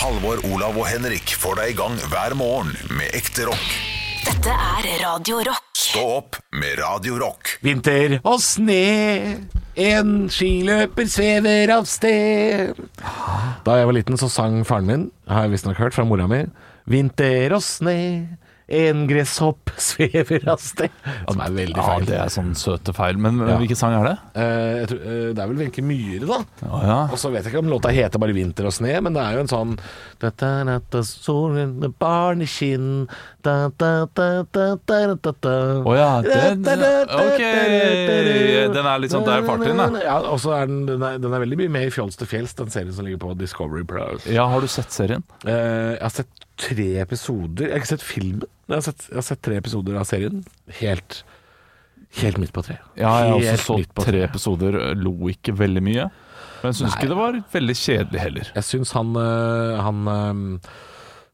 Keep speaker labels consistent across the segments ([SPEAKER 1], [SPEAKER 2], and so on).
[SPEAKER 1] Halvor, Olav og Henrik får deg i gang hver morgen med ekte rock.
[SPEAKER 2] Dette er Radio Rock.
[SPEAKER 1] Stå opp med Radio Rock.
[SPEAKER 3] Vinter og sne, en skiløper svever av sted. Da jeg var liten, så sang faren min, har jeg visstnok hørt fra mora mi, Vinter og sne, en gresshopp svever av sted. Som er veldig
[SPEAKER 4] Ja,
[SPEAKER 3] feil.
[SPEAKER 4] det er sånn søte feil. Men men
[SPEAKER 3] Ja.
[SPEAKER 4] hvilken sang er det?
[SPEAKER 3] Eh, jeg tror, eh, det er vel Wenche Myhre, da.
[SPEAKER 4] Å ja.
[SPEAKER 3] Og så vet jeg ikke om låta heter bare 'Vinter og sne', men det er jo en sånn Dette er natta, solen med barn i skinn da, da, da, da, da, da, da.
[SPEAKER 4] Å ja, den- ok. Den er litt sånn, det er farten, da.
[SPEAKER 3] Ja, og så er den, den, er, den er veldig mye med i Fjols til fjells, den serien som ligger på Discovery Plus.
[SPEAKER 4] ja, har du sett serien?
[SPEAKER 3] Eh, jeg har sett tre episoder Jeg har ikke sett filmen, men jeg har sett, jeg har sett tre episoder av serien. Helt Helt midt på treet.
[SPEAKER 4] Ja, jeg har
[SPEAKER 3] Helt
[SPEAKER 4] også
[SPEAKER 3] midt
[SPEAKER 4] så
[SPEAKER 3] på
[SPEAKER 4] tre
[SPEAKER 3] treet.
[SPEAKER 4] episoder, eh, lo ikke veldig mye. Men syns ikke det var veldig kjedelig heller.
[SPEAKER 3] Jeg syns han, øh, han øh,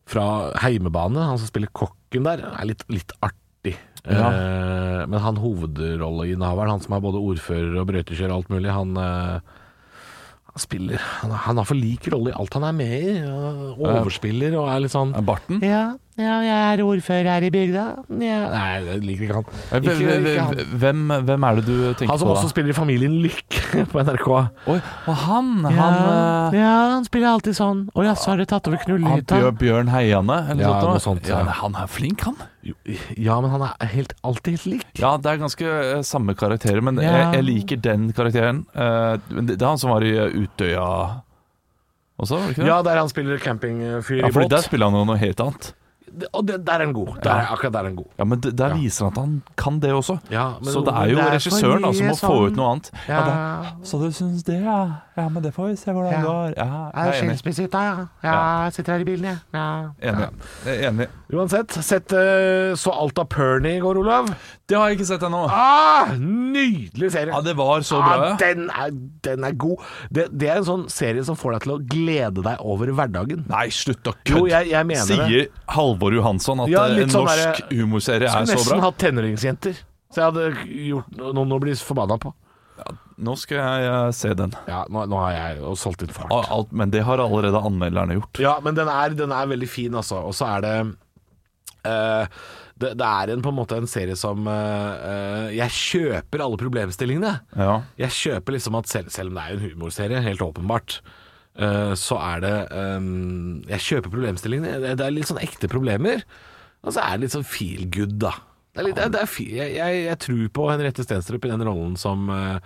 [SPEAKER 3] fra Heimebane, han som spiller kokken der, er litt, litt artig. Eh, men han hovedrolleinnehaveren, han som er både ordfører og brøytekjører og alt mulig, han, eh, han spiller han, han har for lik rolle i alt han er med i. og Overspiller og er litt sånn
[SPEAKER 4] Er Barten?
[SPEAKER 3] ja, ja, jeg er ordfører her i bygda. Ja. Nei, jeg liker ikke han.
[SPEAKER 4] Eh,
[SPEAKER 3] Ikke, ikke han.
[SPEAKER 4] Hvem, hvem er det du tenker
[SPEAKER 3] han som
[SPEAKER 4] på?
[SPEAKER 3] også
[SPEAKER 4] da?
[SPEAKER 3] spiller i Familien Lykke på NRK.
[SPEAKER 4] Oi, og han! Han, eh,
[SPEAKER 3] spiller alltid sånn. Å ja, så har dere tatt over
[SPEAKER 4] han Bjør, Bjørn Heiane, eller
[SPEAKER 3] Ja,
[SPEAKER 4] noe
[SPEAKER 3] noe
[SPEAKER 4] sånt?
[SPEAKER 3] sånt,
[SPEAKER 4] Ja,
[SPEAKER 3] ja.
[SPEAKER 4] men han er flink, han.
[SPEAKER 3] Ja, men han er helt, alltid helt lik.
[SPEAKER 4] Ja, det er ganske eh, samme karakterer, men
[SPEAKER 3] Ja.
[SPEAKER 4] jeg, jeg liker den karakteren. Eh, men det, det er han som var i eh, Utøya også, var det ikke det?
[SPEAKER 3] Ja, der han spiller campingfyr
[SPEAKER 4] Ja,
[SPEAKER 3] i
[SPEAKER 4] fordi
[SPEAKER 3] båt.
[SPEAKER 4] der spiller han jo noe helt annet.
[SPEAKER 3] Og det, der er han god. Der, er- Akkurat der er han god.
[SPEAKER 4] Ja, men d- der
[SPEAKER 3] Ja.
[SPEAKER 4] viser han at han kan det også.
[SPEAKER 3] Ja, men
[SPEAKER 4] så det er jo
[SPEAKER 3] det er for
[SPEAKER 4] regissøren da, som
[SPEAKER 3] mye
[SPEAKER 4] må få ut
[SPEAKER 3] sånn-
[SPEAKER 4] noe annet. Ja.
[SPEAKER 3] Ja.
[SPEAKER 4] da- så du syns det, ja? Ja, men det får vi se hvordan
[SPEAKER 3] Ja.
[SPEAKER 4] det går. Ja, jeg er enig.
[SPEAKER 3] skilsmissehytta, ja.
[SPEAKER 4] Ja,
[SPEAKER 3] jeg sitter her i bilen, jeg.
[SPEAKER 4] enig. Jeg er enig.
[SPEAKER 3] Uansett, sett eh, Så alt av Pernie i går, Olav.
[SPEAKER 4] Det har jeg ikke sett ennå.
[SPEAKER 3] Ah, nydelig serie.
[SPEAKER 4] Ja, det var så bra.
[SPEAKER 3] Ah,
[SPEAKER 4] ja.
[SPEAKER 3] den, er, den er god. Det, det er en sånn serie som får deg til å glede deg over hverdagen.
[SPEAKER 4] Nei, slutt å kødde.
[SPEAKER 3] Jo, jeg- jeg mener det.
[SPEAKER 4] Sier Halvor Johansson at
[SPEAKER 3] Ja,
[SPEAKER 4] eh,
[SPEAKER 3] litt
[SPEAKER 4] en
[SPEAKER 3] sånn
[SPEAKER 4] norsk
[SPEAKER 3] der-
[SPEAKER 4] humorserie er
[SPEAKER 3] Skulle
[SPEAKER 4] så
[SPEAKER 3] nesten
[SPEAKER 4] bra?
[SPEAKER 3] hatt tenåringsjenter. Så jeg hadde gjort noen å bli forbanna på.
[SPEAKER 4] Nå skal jeg eh, se den.
[SPEAKER 3] Ja, nå, nå har jeg jo solgt inn fart.
[SPEAKER 4] Og Alt, men det har allerede anmelderne gjort.
[SPEAKER 3] Ja, men den er, den er veldig fin, altså. Og så er det eh, det, det er en, på en måte en serie som eh, eh, Jeg kjøper alle problemstillingene.
[SPEAKER 4] Ja.
[SPEAKER 3] Jeg kjøper liksom at selv, selv om det er en humorserie, helt åpenbart, eh, så er det eh, Jeg kjøper problemstillingene. Det, det er litt sånn ekte problemer. Og så er det litt sånn feel good, da. Det er litt, det er, det er, fi- jeg, jeg, jeg tror på Henriette Stenstrup i den rollen som eh,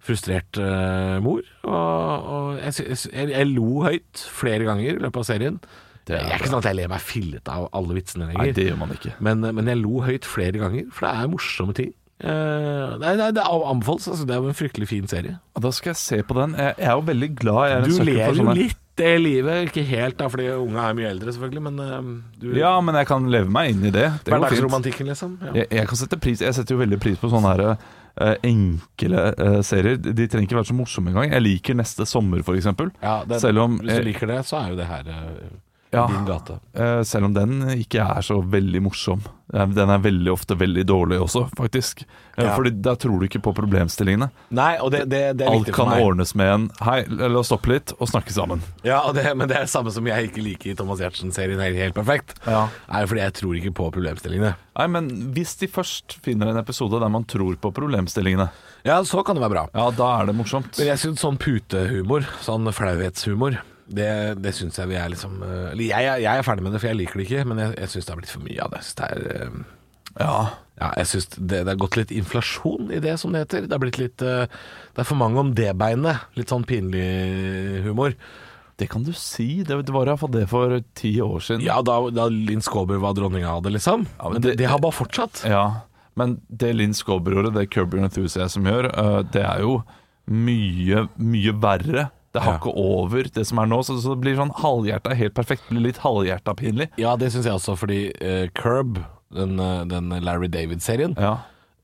[SPEAKER 3] frustrert eh, mor. Og, og jeg, sy- jeg, sy- jeg, jeg lo høyt flere ganger i løpet av serien. Det
[SPEAKER 4] Det er
[SPEAKER 3] er, ikke
[SPEAKER 4] bra.
[SPEAKER 3] sånn at jeg ler meg fillete av alle vitsene lenger.
[SPEAKER 4] Nei, det gjør man ikke.
[SPEAKER 3] Men, eh, men jeg lo høyt flere ganger, for det er morsomme ting. Eh, nei, nei, det er anbefales. Altså, det er jo en fryktelig fin serie.
[SPEAKER 4] Og Da skal jeg se på den. Jeg, jeg er jo veldig glad jeg er en
[SPEAKER 3] Du
[SPEAKER 4] sucker
[SPEAKER 3] ler
[SPEAKER 4] for
[SPEAKER 3] jo
[SPEAKER 4] sånne.
[SPEAKER 3] litt det livet. Ikke helt, da, fordi unga er mye eldre, selvfølgelig, men eh, du
[SPEAKER 4] Ja, men jeg kan leve meg inn i det. Det går fint.
[SPEAKER 3] Hverdagsromantikken, liksom. Ja.
[SPEAKER 4] Jeg, jeg kan sette pris Jeg setter jo veldig pris på sånne her eh, enkle eh, serier. De trenger ikke være så morsomme engang. Jeg liker 'Neste sommer', f.eks.
[SPEAKER 3] Ja, den-
[SPEAKER 4] Selv om eh,
[SPEAKER 3] Hvis du liker det, så er jo det her eh,
[SPEAKER 4] ja,
[SPEAKER 3] din gate.
[SPEAKER 4] eh, Selv om den ikke er så veldig morsom. Eh, Den er veldig ofte veldig dårlig også, faktisk. Eh,
[SPEAKER 3] Ja.
[SPEAKER 4] Fordi da tror du ikke på problemstillingene.
[SPEAKER 3] Nei, og det, det, det er
[SPEAKER 4] Alt
[SPEAKER 3] viktig for
[SPEAKER 4] kan
[SPEAKER 3] meg.
[SPEAKER 4] ordnes med en 'hei, la oss stoppe litt og snakke sammen'.
[SPEAKER 3] Ja, og det, men det er det samme som jeg ikke liker i Thomas Giertsen-serien helt, helt perfekt.
[SPEAKER 4] Ja.
[SPEAKER 3] Er fordi jeg tror ikke på problemstillingene.
[SPEAKER 4] Nei, men Hvis de først finner en episode der man tror på problemstillingene,
[SPEAKER 3] Ja, så kan det være bra.
[SPEAKER 4] ja, da er det morsomt.
[SPEAKER 3] Men jeg syns sånn putehumor, sånn flauhetshumor, det, det syns jeg vi er liksom eh, Eller jeg, er- jeg er ferdig med det, for jeg liker det ikke, men jeg, jeg syns det har blitt for mye av det. Jeg synes det er, eh,
[SPEAKER 4] Ja,
[SPEAKER 3] ja, jeg synes det, det er gått litt inflasjon i det, som det heter. Det er blitt litt eh, Det er for mange om det beinet. Litt sånn pinlig humor.
[SPEAKER 4] Det kan du si. Det det var iallfall det for ti år siden.
[SPEAKER 3] Ja, da, da Linn Skåber var dronninga av det, liksom.
[SPEAKER 4] Ja, men
[SPEAKER 3] men det,
[SPEAKER 4] det-
[SPEAKER 3] det har bare fortsatt.
[SPEAKER 4] Ja, men det Linn Skåber gjorde, det Curb Your Enthusiasm gjør, øh, det er jo mye, mye verre. Det
[SPEAKER 3] Ja.
[SPEAKER 4] hakker over det som er nå, så, så det blir sånn halvhjerta helt perfekt. Blir litt halvhjerta pinlig.
[SPEAKER 3] Ja, det syns jeg også, fordi eh, Curb, den, eh, den Larry David-serien,
[SPEAKER 4] Ja.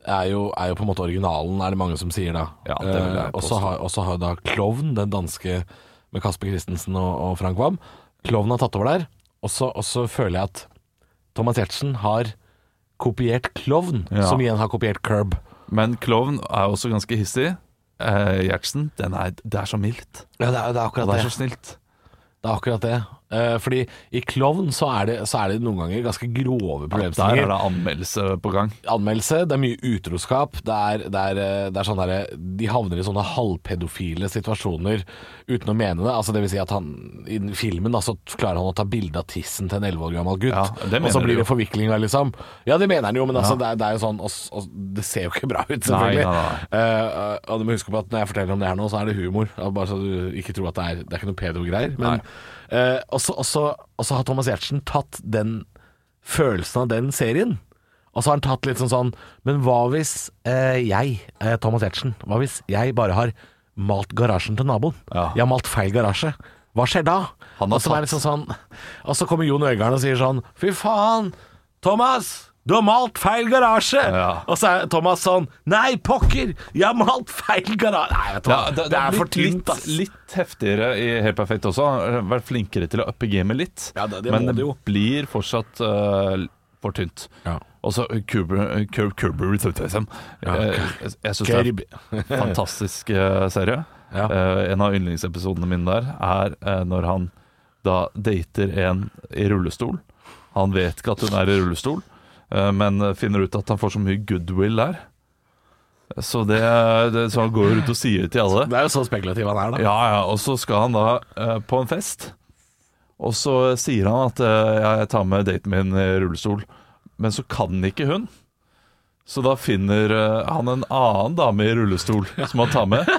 [SPEAKER 3] er jo, er jo på en måte originalen, er det mange som sier da.
[SPEAKER 4] Ja, det vil jeg
[SPEAKER 3] Eh, og så
[SPEAKER 4] påstå.
[SPEAKER 3] har, og så har jo da Klovn, den danske med Kasper Christensen og, og Frank Wam, Klovn har tatt over der. Og så, og så føler jeg at Thomas Giertsen har kopiert Klovn,
[SPEAKER 4] Ja.
[SPEAKER 3] som igjen har kopiert Curb.
[SPEAKER 4] Men klovn er også ganske hissig. Eh, Gjertsen, den er, det er så mildt.
[SPEAKER 3] Ja, det er, akkurat
[SPEAKER 4] Og det er så snilt.
[SPEAKER 3] Det er akkurat det. Eh, fordi i Klovn så er, det, så er det noen ganger ganske grove
[SPEAKER 4] Der er
[SPEAKER 3] problemstillinger.
[SPEAKER 4] det anmeldelse på gang.
[SPEAKER 3] Anmeldelse, det er mye utroskap. Det er, det er, eh, det er sånn derre De havner i sånne halvpedofile situasjoner uten å mene det. Altså det vil si at han i den filmen da, så klarer han å ta bilde av tissen til en 11 år gammel gutt.
[SPEAKER 4] Ja, det
[SPEAKER 3] og så
[SPEAKER 4] mener
[SPEAKER 3] blir
[SPEAKER 4] du jo.
[SPEAKER 3] det forviklinger, liksom. Ja, det mener han jo, men altså, det, er, det er jo sånn og, og, Det ser jo ikke bra ut, selvfølgelig.
[SPEAKER 4] nei, nei.
[SPEAKER 3] Eh, og du må huske på at når jeg forteller om det her nå, så er det humor. Ja, Bare så du ikke tror at det er Det er ikke noe pedo-greier. Men eh, og så- og så og så har Thomas Giertsen tatt den følelsen av den serien. Og så har han tatt litt sånn sånn Men hva hvis eh, jeg, eh, Thomas Giertsen, hva hvis jeg bare har malt garasjen til naboen?
[SPEAKER 4] Ja.
[SPEAKER 3] Jeg har malt feil garasje. Hva skjer da?
[SPEAKER 4] Han har
[SPEAKER 3] og, så er det liksom sånn, og så kommer Jon Øigarden og sier sånn Fy faen, Thomas! Du har malt feil garasje!
[SPEAKER 4] Ja.
[SPEAKER 3] Og så er Thomas sånn Nei, pokker! Jeg har malt feil garasje! Nei, vet du hva.
[SPEAKER 4] Ja,
[SPEAKER 3] det, er for tynt, ass.
[SPEAKER 4] litt, litt heftigere i Helt perfekt også. Har Vært flinkere til å uppe gamet litt.
[SPEAKER 3] Ja, det- det
[SPEAKER 4] men
[SPEAKER 3] må det jo.
[SPEAKER 4] blir fortsatt øh, for tynt.
[SPEAKER 3] Ja.
[SPEAKER 4] Og så Curb- Curb Curb Enthusiasm. Jeg, Eh, jeg syns det er
[SPEAKER 3] Curb.
[SPEAKER 4] en fantastisk øh, serie.
[SPEAKER 3] Ja.
[SPEAKER 4] Eh, en av yndlingsepisodene mine der er eh, når han da dater en i rullestol. Han vet ikke at hun er i rullestol, eh, men finner ut at han får så mye goodwill der. Så, det, det, så han går rundt og sier det til alle.
[SPEAKER 3] Det er jo så spekulativ han er, da.
[SPEAKER 4] Ja, ja, og så skal han da eh, på en fest Og så sier han at eh, Jeg tar med daten min i rullestol Men så kan ikke hun Så da finner eh, han en annen dame i rullestol Som han tar med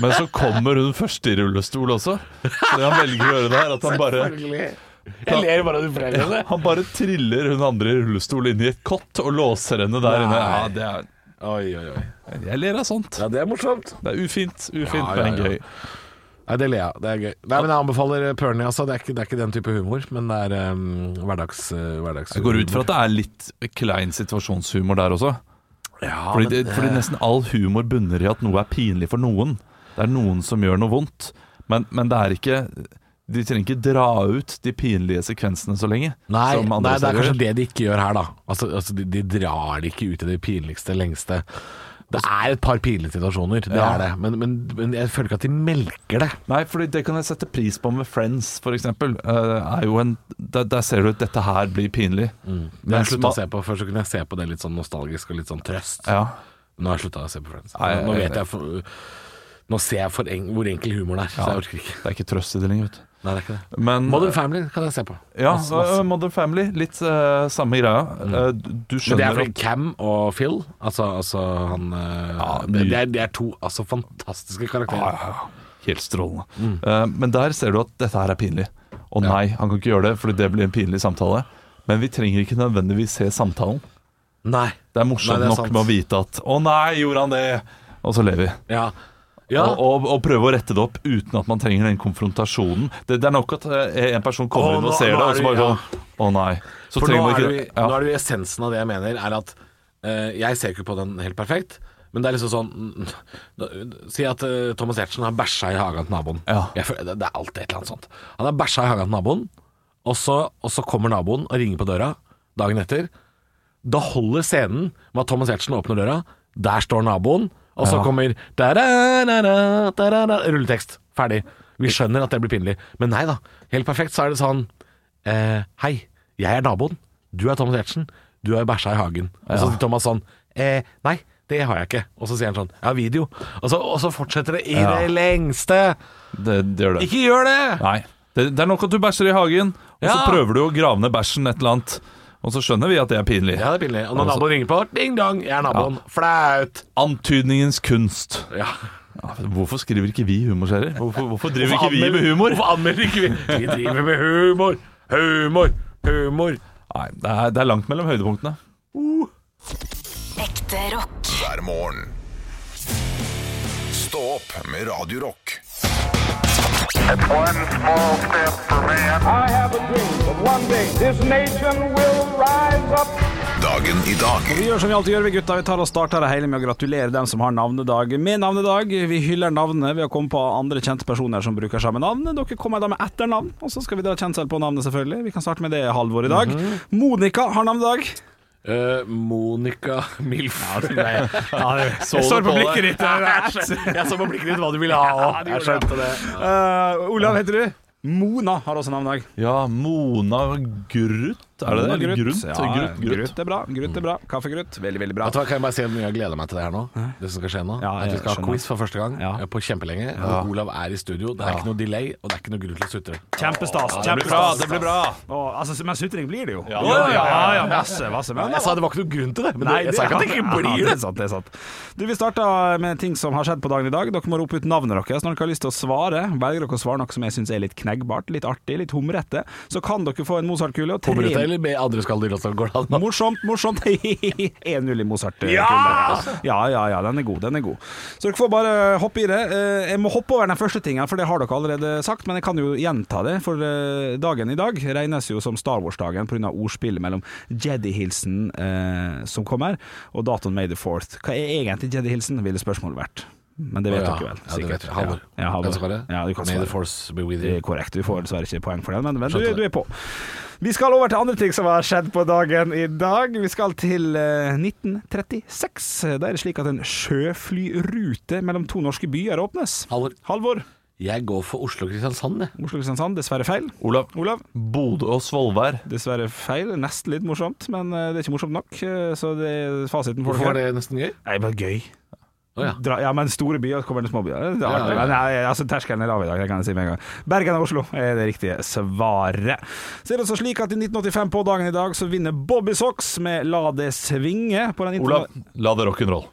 [SPEAKER 4] Men så kommer hun først i rullestol også Så det han velger å gjøre det her At han bare
[SPEAKER 3] Jeg ler bare av du forteller det.
[SPEAKER 4] han bare triller hun andre i rullestol inn i et kott og låser henne der inne. Ja, det er,
[SPEAKER 3] Oi, oi, oi.
[SPEAKER 4] jeg ler av sånt.
[SPEAKER 3] Ja, det er morsomt.
[SPEAKER 4] Det er ufint, ufint,
[SPEAKER 3] Ja, ja,
[SPEAKER 4] men
[SPEAKER 3] ja.
[SPEAKER 4] gøy.
[SPEAKER 3] Nei, Det ler jeg av. Det er gøy. Nei, men Jeg anbefaler Pernie, altså. Det er, ikke, det er ikke den type humor, men det er um, hverdags... Uh, hverdags
[SPEAKER 4] Jeg går ut fra at det er litt klein situasjonshumor der også.
[SPEAKER 3] ja,
[SPEAKER 4] Fordi,
[SPEAKER 3] men, eh,
[SPEAKER 4] det, fordi nesten all humor bunner i at noe er pinlig for noen. Det er noen som gjør noe vondt. Men, men det er ikke De trenger ikke dra ut de pinlige sekvensene så lenge.
[SPEAKER 3] Nei,
[SPEAKER 4] som
[SPEAKER 3] nei,
[SPEAKER 4] andre
[SPEAKER 3] det er
[SPEAKER 4] serier.
[SPEAKER 3] kanskje det de ikke gjør her, da. Altså, altså de, de drar det ikke ut i det pinligste, lengste. Det er et par pinlige situasjoner, det
[SPEAKER 4] Ja.
[SPEAKER 3] er det. Men, men, men jeg føler ikke at de melker det.
[SPEAKER 4] Nei, fordi det kan jeg sette pris på med Friends, for eksempel. Eh, er jo en, der, der ser du at dette her blir pinlig.
[SPEAKER 3] Når jeg
[SPEAKER 4] Mens
[SPEAKER 3] slutta
[SPEAKER 4] man-
[SPEAKER 3] å se på Før så kunne jeg se på det litt sånn nostalgisk og litt sånn trøst.
[SPEAKER 4] Ja.
[SPEAKER 3] Nå har jeg slutta å se på Friends.
[SPEAKER 4] Nei, jeg-
[SPEAKER 3] Nå vet jeg for, Nå ser jeg for en, hvor enkel humoren er, så jeg orker ikke.
[SPEAKER 4] Det er ikke trøst i det lenger, vet du.
[SPEAKER 3] Nei, det er ikke det.
[SPEAKER 4] Men
[SPEAKER 3] Modern Family kan jeg se på.
[SPEAKER 4] ja,
[SPEAKER 3] Masse, masse.
[SPEAKER 4] eh, Modern Family, litt eh, samme greia. Eh,
[SPEAKER 3] Mm.
[SPEAKER 4] du- du
[SPEAKER 3] Men det er
[SPEAKER 4] skjønner
[SPEAKER 3] fordi Cam og Phil Altså, altså han eh, det,
[SPEAKER 4] ny-
[SPEAKER 3] det, er, det er to altså, fantastiske karakterer.
[SPEAKER 4] Ja, ja, ja. Helt strålende. Eh, men der ser du at dette her er pinlig. Å nei, han kan ikke gjøre det, fordi det blir en pinlig samtale. Men vi trenger ikke nødvendigvis se samtalen.
[SPEAKER 3] Nei.
[SPEAKER 4] Det er morsomt
[SPEAKER 3] Nei, det er
[SPEAKER 4] nok
[SPEAKER 3] sant.
[SPEAKER 4] med å vite at 'Å nei, gjorde han det?' Og så ler vi.
[SPEAKER 3] Ja. ja.
[SPEAKER 4] Og, og, og prøve å rette det opp uten at man trenger den konfrontasjonen. Det, det er nok at eh, en person kommer
[SPEAKER 3] Å,
[SPEAKER 4] inn og
[SPEAKER 3] nå-
[SPEAKER 4] ser
[SPEAKER 3] nå
[SPEAKER 4] det,
[SPEAKER 3] er
[SPEAKER 4] og så
[SPEAKER 3] du-
[SPEAKER 4] bare
[SPEAKER 3] ja.
[SPEAKER 4] sånn 'Å nei'. Så
[SPEAKER 3] For nå
[SPEAKER 4] trenger man
[SPEAKER 3] er,
[SPEAKER 4] ikke
[SPEAKER 3] du, i-
[SPEAKER 4] ja.
[SPEAKER 3] nå er du i essensen av det jeg mener, er at eh, jeg ser jo ikke på den helt perfekt. Men det er liksom sånn mm, da- Si at eh, Thomas Giertsen har bæsja i hagen til naboen.
[SPEAKER 4] Ja.
[SPEAKER 3] Jeg føler, det, det er alltid et eller annet sånt. Han har bæsja i hagen til naboen, og så, og så kommer naboen og ringer på døra dagen etter. Da holder scenen med at Thomas Giertsen åpner døra. Der står naboen, og så kommer da-da-da-da, da-da-da, Rulletekst. Ferdig. Vi skjønner at det blir pinlig. Men nei da. Helt perfekt så er det sånn eh, Hei, jeg er naboen. Du er Thomas Giertsen. Du har jo bæsja i hagen. Og så sier Thomas sånn eh, Nei, det har jeg ikke. Og så sier han sånn Jeg har video. Og så, og så fortsetter det i
[SPEAKER 4] Ja.
[SPEAKER 3] det lengste.
[SPEAKER 4] det, det gjør det.
[SPEAKER 3] Ikke gjør det!
[SPEAKER 4] Nei. Det, det er nok at du bæsjer i hagen, og så
[SPEAKER 3] Ja.
[SPEAKER 4] prøver du å grave ned bæsjen et eller annet. Og så skjønner vi at det er pinlig.
[SPEAKER 3] Ja, det er pinlig. Og når
[SPEAKER 4] Altså-
[SPEAKER 3] naboen ringer på, ding-dong, jeg er naboen. Flaut.
[SPEAKER 4] Antydningens kunst.
[SPEAKER 3] Ja.
[SPEAKER 4] Hvorfor skriver ikke vi humorserier? Hvorfor, hvorfor driver
[SPEAKER 3] Hvorfor
[SPEAKER 4] ikke vi
[SPEAKER 3] anmelder-
[SPEAKER 4] med humor?
[SPEAKER 3] Hvorfor anmelder ikke vi? Vi driver med humor, humor, humor.
[SPEAKER 4] Nei, det er, det er langt mellom høydepunktene.
[SPEAKER 2] Ekte rock.
[SPEAKER 1] hver morgen. Stå opp med Radio Rock.
[SPEAKER 5] One small step for man.
[SPEAKER 6] I have a dream that one day this nation will rise up.
[SPEAKER 1] Dagen i dag
[SPEAKER 7] Vi gjør som vi alltid gjør, vi gutta. Vi tar og starter det hele med å gratulere dem som har navnedag med navnedag. Vi hyller navnet ved å komme på andre kjente personer som bruker samme navn. Dere kommer da med etternavn, og så skal vi dra kjensel på navnet, selvfølgelig. Vi kan starte med det Halvor i dag. Monica har navnedag.
[SPEAKER 3] Uh, Monica Milf.
[SPEAKER 4] Så altså, det på det.
[SPEAKER 7] ditt.
[SPEAKER 3] Jeg så på blikket ditt hva du ville ha òg. Jeg skjønte det.
[SPEAKER 7] Eh, Olav heter du? Mona har også navnedag.
[SPEAKER 4] Ja, Mona Gruth, er det det?
[SPEAKER 7] Mona
[SPEAKER 4] Eller Grunt?
[SPEAKER 7] Ja,
[SPEAKER 4] Grunt, Grunt.
[SPEAKER 7] Grutt er bra. Grutt er bra. Kaffegrutt. Veldig, veldig bra.
[SPEAKER 3] Vet du hva, kan jeg bare si hvor mye jeg gleder meg til det her nå? Det som skal skje nå?
[SPEAKER 7] Ja,
[SPEAKER 3] at vi
[SPEAKER 7] jeg
[SPEAKER 3] skal ha
[SPEAKER 7] skjønner.
[SPEAKER 3] quiz for første gang
[SPEAKER 7] Ja.
[SPEAKER 3] eh, på kjempelenge. Og Olav er i studio. Det er ikke noe delay, og det er ikke noe grunn til å sutre.
[SPEAKER 7] Kjempestas.
[SPEAKER 3] det blir bra, det blir
[SPEAKER 7] bra. altså, men sutring blir det jo. Ja,
[SPEAKER 4] ja,
[SPEAKER 7] ja, ja, masse, masse. Men,
[SPEAKER 3] Jeg sa det var ikke noe grunn til det, men
[SPEAKER 7] Nei,
[SPEAKER 3] jeg sa ikke at det ikke
[SPEAKER 7] Ja,
[SPEAKER 3] blir
[SPEAKER 7] det.
[SPEAKER 3] det.
[SPEAKER 7] Er sant, det er sant. Du, Vi starter med ting som har skjedd på dagen i dag. Dere må rope ut navnet deres når dere har lyst til å svare. Velger dere å svare noe som jeg syns er litt kneggbart, litt artig, litt humrete, så kan dere få en Mozart-kule. og tre-
[SPEAKER 3] Kommer du til, eller med andre skalldyr også? Går det an?
[SPEAKER 7] Morsomt, morsomt. 1-0 i Mozart-kule. Ja! altså. ja, ja, ja. Den er god, den er god. Så dere får bare hoppe i det. Eh, Jeg må hoppe over den første tingen, for det har dere allerede sagt, men jeg kan jo gjenta det. For eh, dagen i dag regnes jo som Star Wars-dagen pga. ordspillet mellom Jedi-hilsen eh, som kommer, og datoen May the 4th. Hva er egentlig Jedi-hilsen, ville spørsmålet vært. Men det vet
[SPEAKER 3] Ja,
[SPEAKER 7] dere vel,
[SPEAKER 3] Ja, det vet
[SPEAKER 7] sikkert.
[SPEAKER 3] vi. Halvor.
[SPEAKER 7] Ja, ja, Halvor.
[SPEAKER 3] Kan jeg svare?
[SPEAKER 7] Ja, du kan
[SPEAKER 3] May the
[SPEAKER 7] svare.
[SPEAKER 3] force be with
[SPEAKER 7] Det
[SPEAKER 3] you.
[SPEAKER 7] er korrekt. Du får dessverre ikke poeng for den, men, men du,
[SPEAKER 3] Skjønte
[SPEAKER 7] du
[SPEAKER 3] det.
[SPEAKER 7] er på. Vi skal over til andre ting som har skjedd på dagen i dag. Vi skal til eh, 1936. Da er det slik at en sjøflyrute mellom to norske byer åpnes.
[SPEAKER 3] Halvor,
[SPEAKER 7] Halvor.
[SPEAKER 3] jeg går for Oslo-Kristiansand, jeg.
[SPEAKER 7] Oslo-Kristiansand, dessverre feil.
[SPEAKER 4] Olav.
[SPEAKER 7] Olav,
[SPEAKER 4] Bodø og Svolvær.
[SPEAKER 7] dessverre feil. Nesten litt morsomt, men eh, det er ikke morsomt nok, eh, så det er fasiten for
[SPEAKER 3] Hvorfor var
[SPEAKER 7] dere.
[SPEAKER 3] det nesten gøy?
[SPEAKER 7] Nei, bare gøy.
[SPEAKER 3] Å ja.
[SPEAKER 7] Dra, ja, men store byer kommer det småbyer. Det er
[SPEAKER 3] Ja, ja,
[SPEAKER 7] artig.
[SPEAKER 3] ja.
[SPEAKER 7] Nei, altså, terskelen er lav i dag, det kan jeg si med en gang. Bergen og Oslo er det riktige svaret. Så er det også slik at i 1985 på dagen i dag så vinner Bobby Socks med La det svinge på den
[SPEAKER 4] Olav,
[SPEAKER 7] interna-
[SPEAKER 4] la det rock'n'roll.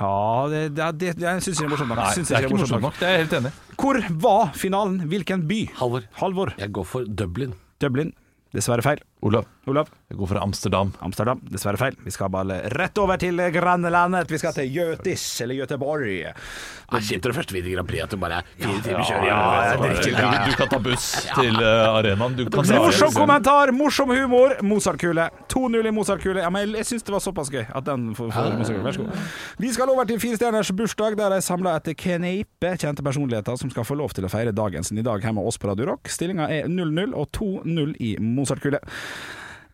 [SPEAKER 7] Ja, det, det, det, det jeg syns ikke det er morsomt nok. Jeg synes
[SPEAKER 4] det er
[SPEAKER 7] ikke
[SPEAKER 4] ikke morsomt nok. Det er jeg helt enig i.
[SPEAKER 7] Hvor var finalen? Hvilken by?
[SPEAKER 3] Halvor,
[SPEAKER 7] Halvor.
[SPEAKER 3] jeg går for Dublin.
[SPEAKER 7] Dublin. Dessverre feil.
[SPEAKER 4] Olav,
[SPEAKER 7] Olav.
[SPEAKER 4] jeg går for Amsterdam.
[SPEAKER 7] Amsterdam. Dessverre feil. Vi skal bare rett over til grannelandet. Vi skal til Gjøtis, eller Göteborg.
[SPEAKER 3] Det er kjipt når det første vinner i Grand Prix at du bare er fire timer kjøring.
[SPEAKER 4] Du, du kan ta buss til eh, arenaen. Du kan
[SPEAKER 7] Det er
[SPEAKER 4] dra
[SPEAKER 7] Morsom
[SPEAKER 4] hjem selv.
[SPEAKER 7] kommentar, morsom humor. Mozartkule. 2-0 i Mozartkule. Ja, men jeg- jeg syns det var såpass gøy at den får, får Mozartkule. Vær så god. Vi skal over til Firestjerners bursdag, der de samler et kneipe kjente personligheter som skal få lov til å feire dagen sin i dag hjemme hos oss på Radio Rock. Stillinga er 0-0 og 2-0 i Mozartkule.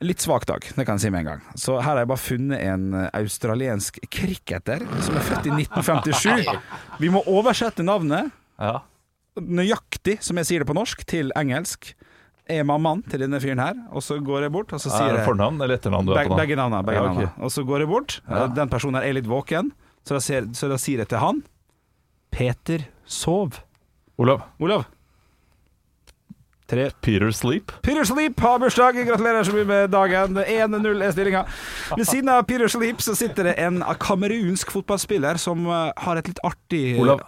[SPEAKER 7] Litt svak dag, det kan jeg si med en gang. Så her har jeg bare funnet en eh, australiensk cricketer som er født i 1957. Vi må oversette navnet
[SPEAKER 4] Ja.
[SPEAKER 7] nøyaktig, som jeg sier det på norsk, til engelsk. Er mammaen til denne fyren her, og så går jeg bort, og så
[SPEAKER 4] Er
[SPEAKER 7] sier
[SPEAKER 4] det
[SPEAKER 7] jeg
[SPEAKER 4] fornavn eller etternavn du er
[SPEAKER 7] Beg,
[SPEAKER 4] på nå?
[SPEAKER 7] Begge navnene. Begge
[SPEAKER 4] Ja, ok.
[SPEAKER 7] navnene. Og så går jeg bort. Den personen her er litt våken, så da, ser, så da sier jeg til han Peter sov.
[SPEAKER 4] Olav,
[SPEAKER 7] Olav. Tre.
[SPEAKER 4] Peter Sleep.
[SPEAKER 7] Peter Sleep har bursdag. Gratulerer så mye med dagen. 1-0 er stillinga. Ved siden av Peter Sleep så sitter det en kamerunsk fotballspiller som eh, har et litt artig
[SPEAKER 4] Olav,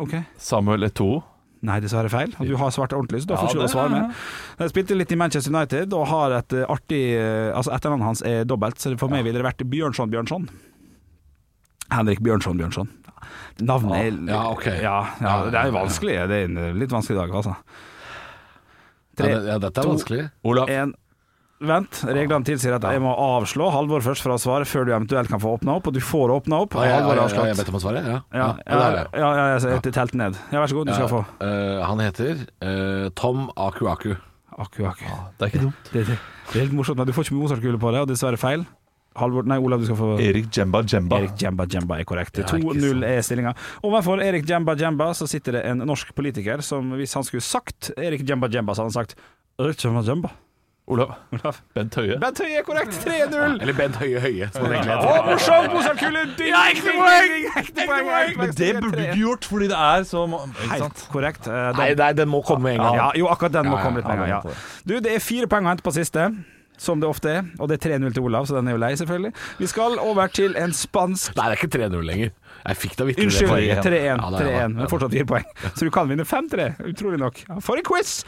[SPEAKER 7] Ok.
[SPEAKER 4] Samuel Eto'o.
[SPEAKER 7] Nei, dessverre feil. Og Du har svart ordentlig, så da får
[SPEAKER 4] Ja,
[SPEAKER 7] ikke du
[SPEAKER 4] det-
[SPEAKER 7] svare med. Jeg spilte litt i Manchester United og har et eh, artig eh, Altså etternavnet hans er dobbelt, så for meg ville det vært Bjørnson Bjørnson. Henrik Bjørnson Bjørnson. Navnet er
[SPEAKER 3] Ja, ok.
[SPEAKER 7] ja, ja, det er vanskelig. Det er en litt vanskelig dag, altså.
[SPEAKER 3] Ja,
[SPEAKER 7] Tre,
[SPEAKER 3] det- ja, dette er
[SPEAKER 7] to,
[SPEAKER 3] vanskelig.
[SPEAKER 4] Olav,
[SPEAKER 7] en Vent, reglene tilsier at jeg må avslå Halvor først fra svaret før du eventuelt kan få åpna opp, og du får åpna opp.
[SPEAKER 3] Ja, ja, ja,
[SPEAKER 7] Halvor har
[SPEAKER 3] ja, jeg
[SPEAKER 7] avslått.
[SPEAKER 3] vet om å svare. Ja,
[SPEAKER 7] Ja,
[SPEAKER 3] ja,
[SPEAKER 7] ja,
[SPEAKER 3] det er det.
[SPEAKER 7] ja, ja, jeg jeg telte ned. Ja, vær så god, du skal få.
[SPEAKER 3] Ja, eh, han heter eh, Tom Aku Aku.
[SPEAKER 7] Akku, akku.
[SPEAKER 4] det er ikke dumt.
[SPEAKER 7] Det, det, det er helt morsomt, men du får ikke Mozart-kule på det, og dessverre feil. Halvor, nei, Olav, du skal få
[SPEAKER 4] Erik Jemba Jemba.
[SPEAKER 7] Erik Djemba Djemba er korrekt.
[SPEAKER 3] Ja, ikke sant.
[SPEAKER 7] 2-0 er stillinga. Overfor Erik Djemba Djemba så sitter det en norsk politiker som hvis han skulle sagt Erik Djemba Djemba, så hadde han sagt Erik Djemba Djemba.
[SPEAKER 4] Olav,
[SPEAKER 7] Olav.
[SPEAKER 4] Bent Høie.
[SPEAKER 7] Bent Høie er korrekt! 3-0!
[SPEAKER 3] Eller Bent Høie Høie. som han egentlig
[SPEAKER 7] Å,
[SPEAKER 3] heter.
[SPEAKER 7] morsomt! Mozart-kule! Ja, ekte poeng! Ekte poeng!
[SPEAKER 4] Men det burde du ikke gjort, fordi det er så Ikke sant?
[SPEAKER 7] Helt korrekt. Eh, den-
[SPEAKER 3] Nei, nei, den må komme med en gang.
[SPEAKER 7] Ja, jo, akkurat den
[SPEAKER 3] Ja,
[SPEAKER 7] må
[SPEAKER 3] ja,
[SPEAKER 7] komme litt
[SPEAKER 4] ja,
[SPEAKER 7] penger.
[SPEAKER 4] den må
[SPEAKER 7] Ja. Du, det er fire poeng å hente på siste. Som det ofte er, og det er 3-0 til Olav, så den er jo lei, selvfølgelig. Vi skal over til en spansk
[SPEAKER 3] Nei, det er ikke 3-0 lenger. Jeg fikk da vitterlig
[SPEAKER 7] Unnskyld,
[SPEAKER 3] det poenget.
[SPEAKER 7] 3-1.
[SPEAKER 3] Ja, det er det.
[SPEAKER 7] 3-1, men fortsatt fire poeng. Så du kan vinne 5-3, utrolig nok. For en quiz!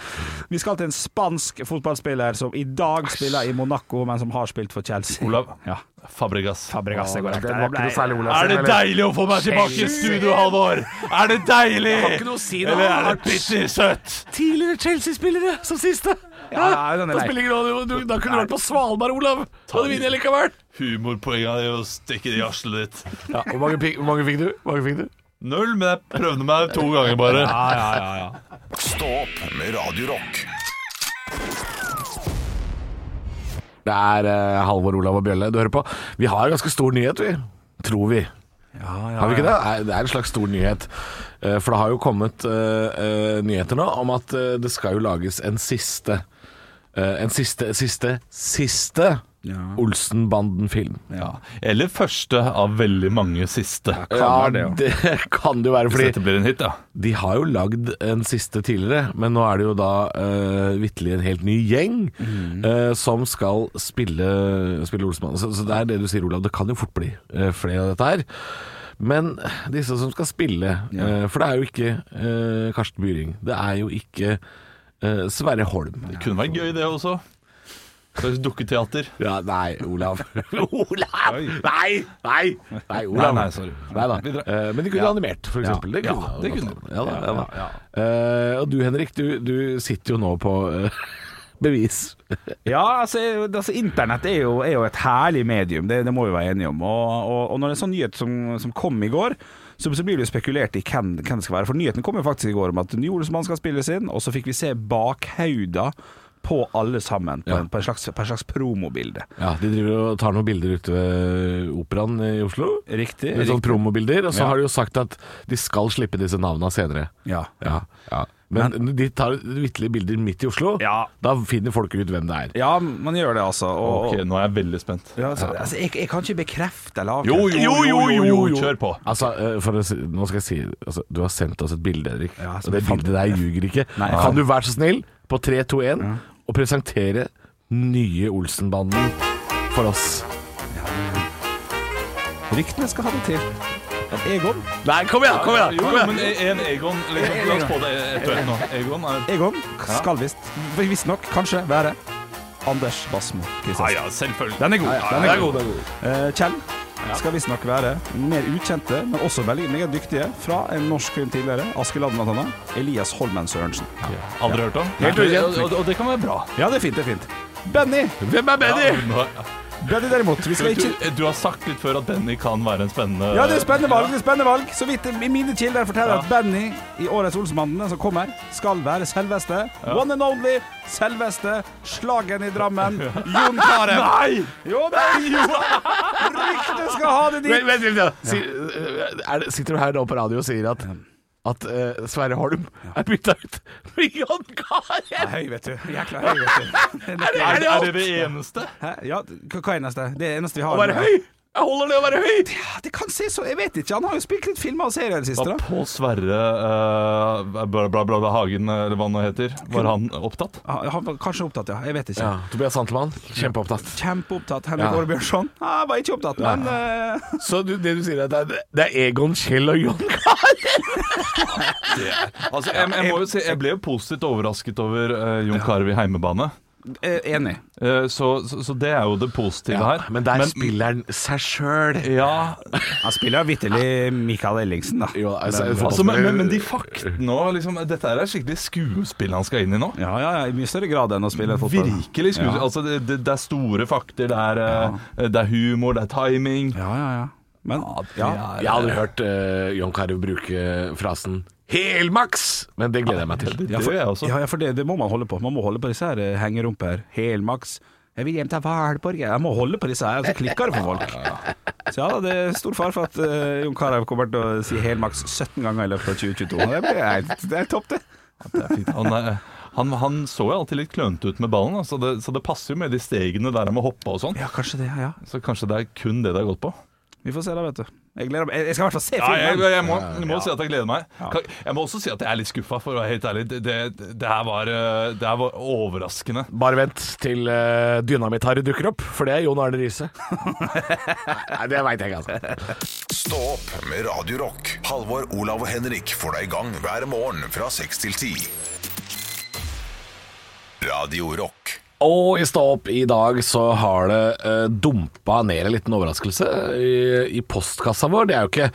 [SPEAKER 7] Vi skal til en spansk fotballspiller som i dag spiller i Monaco, men som har spilt for Chelsea.
[SPEAKER 4] Olav.
[SPEAKER 7] Ja,
[SPEAKER 4] Fabregas.
[SPEAKER 7] Fabregas er korrekt.
[SPEAKER 3] Den var ikke noe særlig Olav
[SPEAKER 4] Er det deilig å få meg tilbake i studio, Halvor? Er det deilig?
[SPEAKER 3] Kan ikke noe si det.
[SPEAKER 4] Eller er det bitter søtt?
[SPEAKER 3] Tidligere Chelsea-spillere som siste.
[SPEAKER 7] Ja, ja, den er
[SPEAKER 3] da,
[SPEAKER 7] lei.
[SPEAKER 3] spiller ikke noe- du, da kunne du vært på Svalbard, Olav. Da hadde vunnet likevel.
[SPEAKER 4] Humorpoenget er jo å stikke det i arselet ditt.
[SPEAKER 3] Hvor mange, pik- hvor mange fikk du? Hvor mange fikk du?
[SPEAKER 4] Null, men jeg prøvde meg to ganger bare.
[SPEAKER 1] Stå opp med Radio Rock.
[SPEAKER 3] Det er eh, Halvor, Olav og Bjølle du hører på. Vi har en ganske stor nyhet, vi. Tror vi. har vi ikke det? Nei, Det er en slags stor nyhet. Eh, For det har jo kommet eh, eh, nyheter nå om at eh, det skal jo lages en siste eh, En siste, siste, siste
[SPEAKER 7] Ja.
[SPEAKER 3] Olsenbanden-film.
[SPEAKER 4] Ja. Eller første av veldig mange siste.
[SPEAKER 3] Ja,
[SPEAKER 7] være det, jo.
[SPEAKER 3] det kan det jo være,
[SPEAKER 4] Hvis
[SPEAKER 3] fordi
[SPEAKER 4] dette blir en hit, ja.
[SPEAKER 3] De har jo lagd en siste tidligere, men nå er det jo da uh, vitterlig en helt ny gjeng eh, som skal spille, spille Olsenmannen. Så, så det er det du sier, Olav. Det kan jo fort bli eh, flere av dette her. Men disse som skal spille eh, For det er jo ikke eh, Karsten Byring. Det er jo ikke eh, Sverre Holm.
[SPEAKER 4] Det kunne vært gøy, det også. Slags dukketeater.
[SPEAKER 3] Ja, nei, Olav. Olav! Nei! Nei, nei Olav.
[SPEAKER 4] Nei, nei, sorry.
[SPEAKER 3] Nei da.
[SPEAKER 4] Vi drar-
[SPEAKER 3] Eh, Men de kunne animert, for eksempel. Det kunne
[SPEAKER 4] Ja, det
[SPEAKER 3] de.
[SPEAKER 4] kunne de.
[SPEAKER 3] Ja, da, ja, da. Eh, og du Henrik, du, du sitter jo nå på eh, bevis.
[SPEAKER 7] Ja, altså, altså internett er jo, er jo et herlig medium, det, det må vi være enige om. Og, og, og når det er sånn nyhet som, som kom i går, så, så blir det jo spekulert i hvem, hvem det skal være. For nyheten kom jo faktisk i går om at ny Olsmann skal spilles inn, og så fikk vi se bakhauda på alle sammen, på,
[SPEAKER 3] Ja.
[SPEAKER 7] en, på, en slags, på en slags promobilde.
[SPEAKER 3] Ja, De driver og tar noen bilder ute ved operaen i Oslo.
[SPEAKER 7] Riktig.
[SPEAKER 3] Litt sånn
[SPEAKER 7] riktig.
[SPEAKER 3] promobilder. Og så
[SPEAKER 7] Ja.
[SPEAKER 3] har de jo sagt at de skal slippe disse navnene senere.
[SPEAKER 7] Ja.
[SPEAKER 3] Ja, ja. Men, de tar vitterlig bilder midt i Oslo.
[SPEAKER 7] Ja.
[SPEAKER 3] Da finner folk ut hvem det er.
[SPEAKER 7] ja, man gjør det, altså. Og,
[SPEAKER 4] Ok, nå er jeg veldig spent.
[SPEAKER 7] ja, altså, altså, jeg, jeg kan ikke bekrefte eller
[SPEAKER 4] Jo,
[SPEAKER 7] avkrefte.
[SPEAKER 4] jo, jo, jo, jo, kjør på.
[SPEAKER 3] Altså, eh, for å si, nå skal jeg si altså, Du har sendt oss et bilde, Henrik.
[SPEAKER 7] Ja,
[SPEAKER 3] og
[SPEAKER 7] som
[SPEAKER 3] det
[SPEAKER 7] jeg fant.
[SPEAKER 3] bildet der ljuger ikke.
[SPEAKER 7] Nei, jeg
[SPEAKER 3] kan
[SPEAKER 7] fant.
[SPEAKER 3] du være så snill, på 3, 2, 1, og presentere nye Olsenbanden for oss?
[SPEAKER 7] Ryktene skal ha det til. At Egon
[SPEAKER 3] Nei, kom igjen! kom igjen,
[SPEAKER 4] Jo,
[SPEAKER 3] kom
[SPEAKER 4] jo,
[SPEAKER 3] igjen.
[SPEAKER 4] men en Egon liksom, La oss få det ett og ett nå. Egon er
[SPEAKER 7] Egon skal visst, visstnok, kanskje være Anders Basmo
[SPEAKER 4] Ja,
[SPEAKER 7] Kristiansen.
[SPEAKER 4] ja, selvfølgelig.
[SPEAKER 7] Den er god.
[SPEAKER 4] Ja, ja,
[SPEAKER 7] Den
[SPEAKER 4] det
[SPEAKER 7] er
[SPEAKER 4] er
[SPEAKER 7] god.
[SPEAKER 4] god, det er god.
[SPEAKER 7] Eh, Kjell skal visstnok være mer ukjente, men også veldig meget dyktige fra en norsk film tidligere. Askeladden blant annet. Elias Holmen Sørensen.
[SPEAKER 4] Aldri hørt om?
[SPEAKER 7] Helt
[SPEAKER 4] Nei,
[SPEAKER 7] ukjent.
[SPEAKER 4] og- Og, og det kan være bra.
[SPEAKER 7] Ja, det er fint, det er fint. Benny!
[SPEAKER 3] Hvem er Benny?
[SPEAKER 4] Ja, nå-
[SPEAKER 7] Benny derimot, vi skal ikke
[SPEAKER 4] du, du har sagt litt før at Benny kan være en spennende
[SPEAKER 7] Ja, det er spennende valg. det er spennende valg Så vidt i mine kilder forteller at Benny i årets Olsenmannen som kommer, skal være selveste. One and only selveste slagen i Drammen. Jon Carew. Nei! Jo, det er jo Ryktet skal ha det
[SPEAKER 3] Vent,
[SPEAKER 7] dit.
[SPEAKER 3] vent litt, da. Si, eh, er det, sitter du her nå på radio og sier at at eh, Sverre Holm er bytta ut med Jon Carew?
[SPEAKER 7] Høy, vet du. Jækla høy, vet du.
[SPEAKER 3] Er, det-
[SPEAKER 4] Er
[SPEAKER 3] er
[SPEAKER 4] det,
[SPEAKER 3] det
[SPEAKER 4] er det
[SPEAKER 3] alt?
[SPEAKER 4] det eneste?
[SPEAKER 7] Hæ? Ja, hva hva er neste? Det er eneste vi har.
[SPEAKER 3] Å være høy? Jeg holder det å være høy?
[SPEAKER 7] Ja, det kan se så Jeg vet ikke. Han har jo spilt litt filmer og serier i det siste,
[SPEAKER 4] Var
[SPEAKER 7] da.
[SPEAKER 4] Pål Sverre eh, bla, bla, bla, bla, Hagen, eller hva han nå heter, var han opptatt?
[SPEAKER 7] Han han var kanskje opptatt, ja. Jeg vet ikke.
[SPEAKER 3] Ja, Tobias Santelmann, kjempeopptatt.
[SPEAKER 7] Kjempeopptatt. Henrik
[SPEAKER 3] Ja.
[SPEAKER 7] Årebjørnson. Ja, var ikke opptatt, men eh,
[SPEAKER 3] Så du, det du sier er at det er, det er Egon, Kjell og Jon Carew?
[SPEAKER 4] Altså, jeg, jeg, må jo si, jeg ble jo positivt overrasket over eh, Jon Carew i heimebane.
[SPEAKER 7] eh, Enig.
[SPEAKER 4] Eh, så, så, så det er jo det positive her.
[SPEAKER 3] Men der spiller han seg sjøl.
[SPEAKER 4] ja,
[SPEAKER 7] Han spiller jo vitterlig Mikael Ellingsen, da.
[SPEAKER 3] Jo, altså,
[SPEAKER 7] Men-
[SPEAKER 4] altså, men, men, men de faktene òg liksom, Dette her er skikkelig skuespill han skal inn i nå.
[SPEAKER 7] ja, ja, ja, i mye større grad enn å spille fotball.
[SPEAKER 4] Virkelig skuespill. Altså, det, det, det er store fakter, det er, eh, det er humor, det er timing.
[SPEAKER 7] Ja, ja, ja. Men ja,
[SPEAKER 3] Jeg hadde hørt eh, Jon Carew bruke frasen 'helmaks', men det gleder jeg meg til.
[SPEAKER 4] Det gjør jeg også.
[SPEAKER 7] ja, ja, for det, det må man holde på. Man må holde på disse her eh, hengerumper. Helmaks. Jeg vil hjem til Valborg. Jeg må holde på disse her, så klikker det for folk. Så ja da, det er stor fare for at eh, Jon Carew kommer til å si helmaks 17 ganger i løpet av 2022. Det, blir, helt- det er topp, det.
[SPEAKER 4] Det er fint. Han, er- han, han så jo alltid litt klønete ut med ballen, da, så det, så det passer jo med de stegene der han må hoppe og sånn.
[SPEAKER 7] Ja, kanskje det. Ja.
[SPEAKER 4] Så kanskje det er kun det det har gått på.
[SPEAKER 7] Vi får se da, vet du. Jeg gleder meg. Jeg jeg skal i hvert fall se
[SPEAKER 4] Ja, jeg,
[SPEAKER 7] filmen.
[SPEAKER 4] jeg må, jeg må si at jeg gleder meg. Kan- Jeg må også si at jeg er litt skuffa, for å være helt ærlig. Det, det, det, her, var, eh, det her var overraskende.
[SPEAKER 3] Bare vent til uh, Dynamitt-Harry dukker opp, for det er Jon Arne Riise. Nei, det veit jeg ikke, altså.
[SPEAKER 1] Stå opp med Radio Rock. Halvor, Olav og Henrik får deg i gang hver morgen fra 6 til 10. Radio Rock.
[SPEAKER 3] Og i Stå opp i dag så har det eh, dumpa ned en liten overraskelse i, i postkassa vår. Det er jo ikke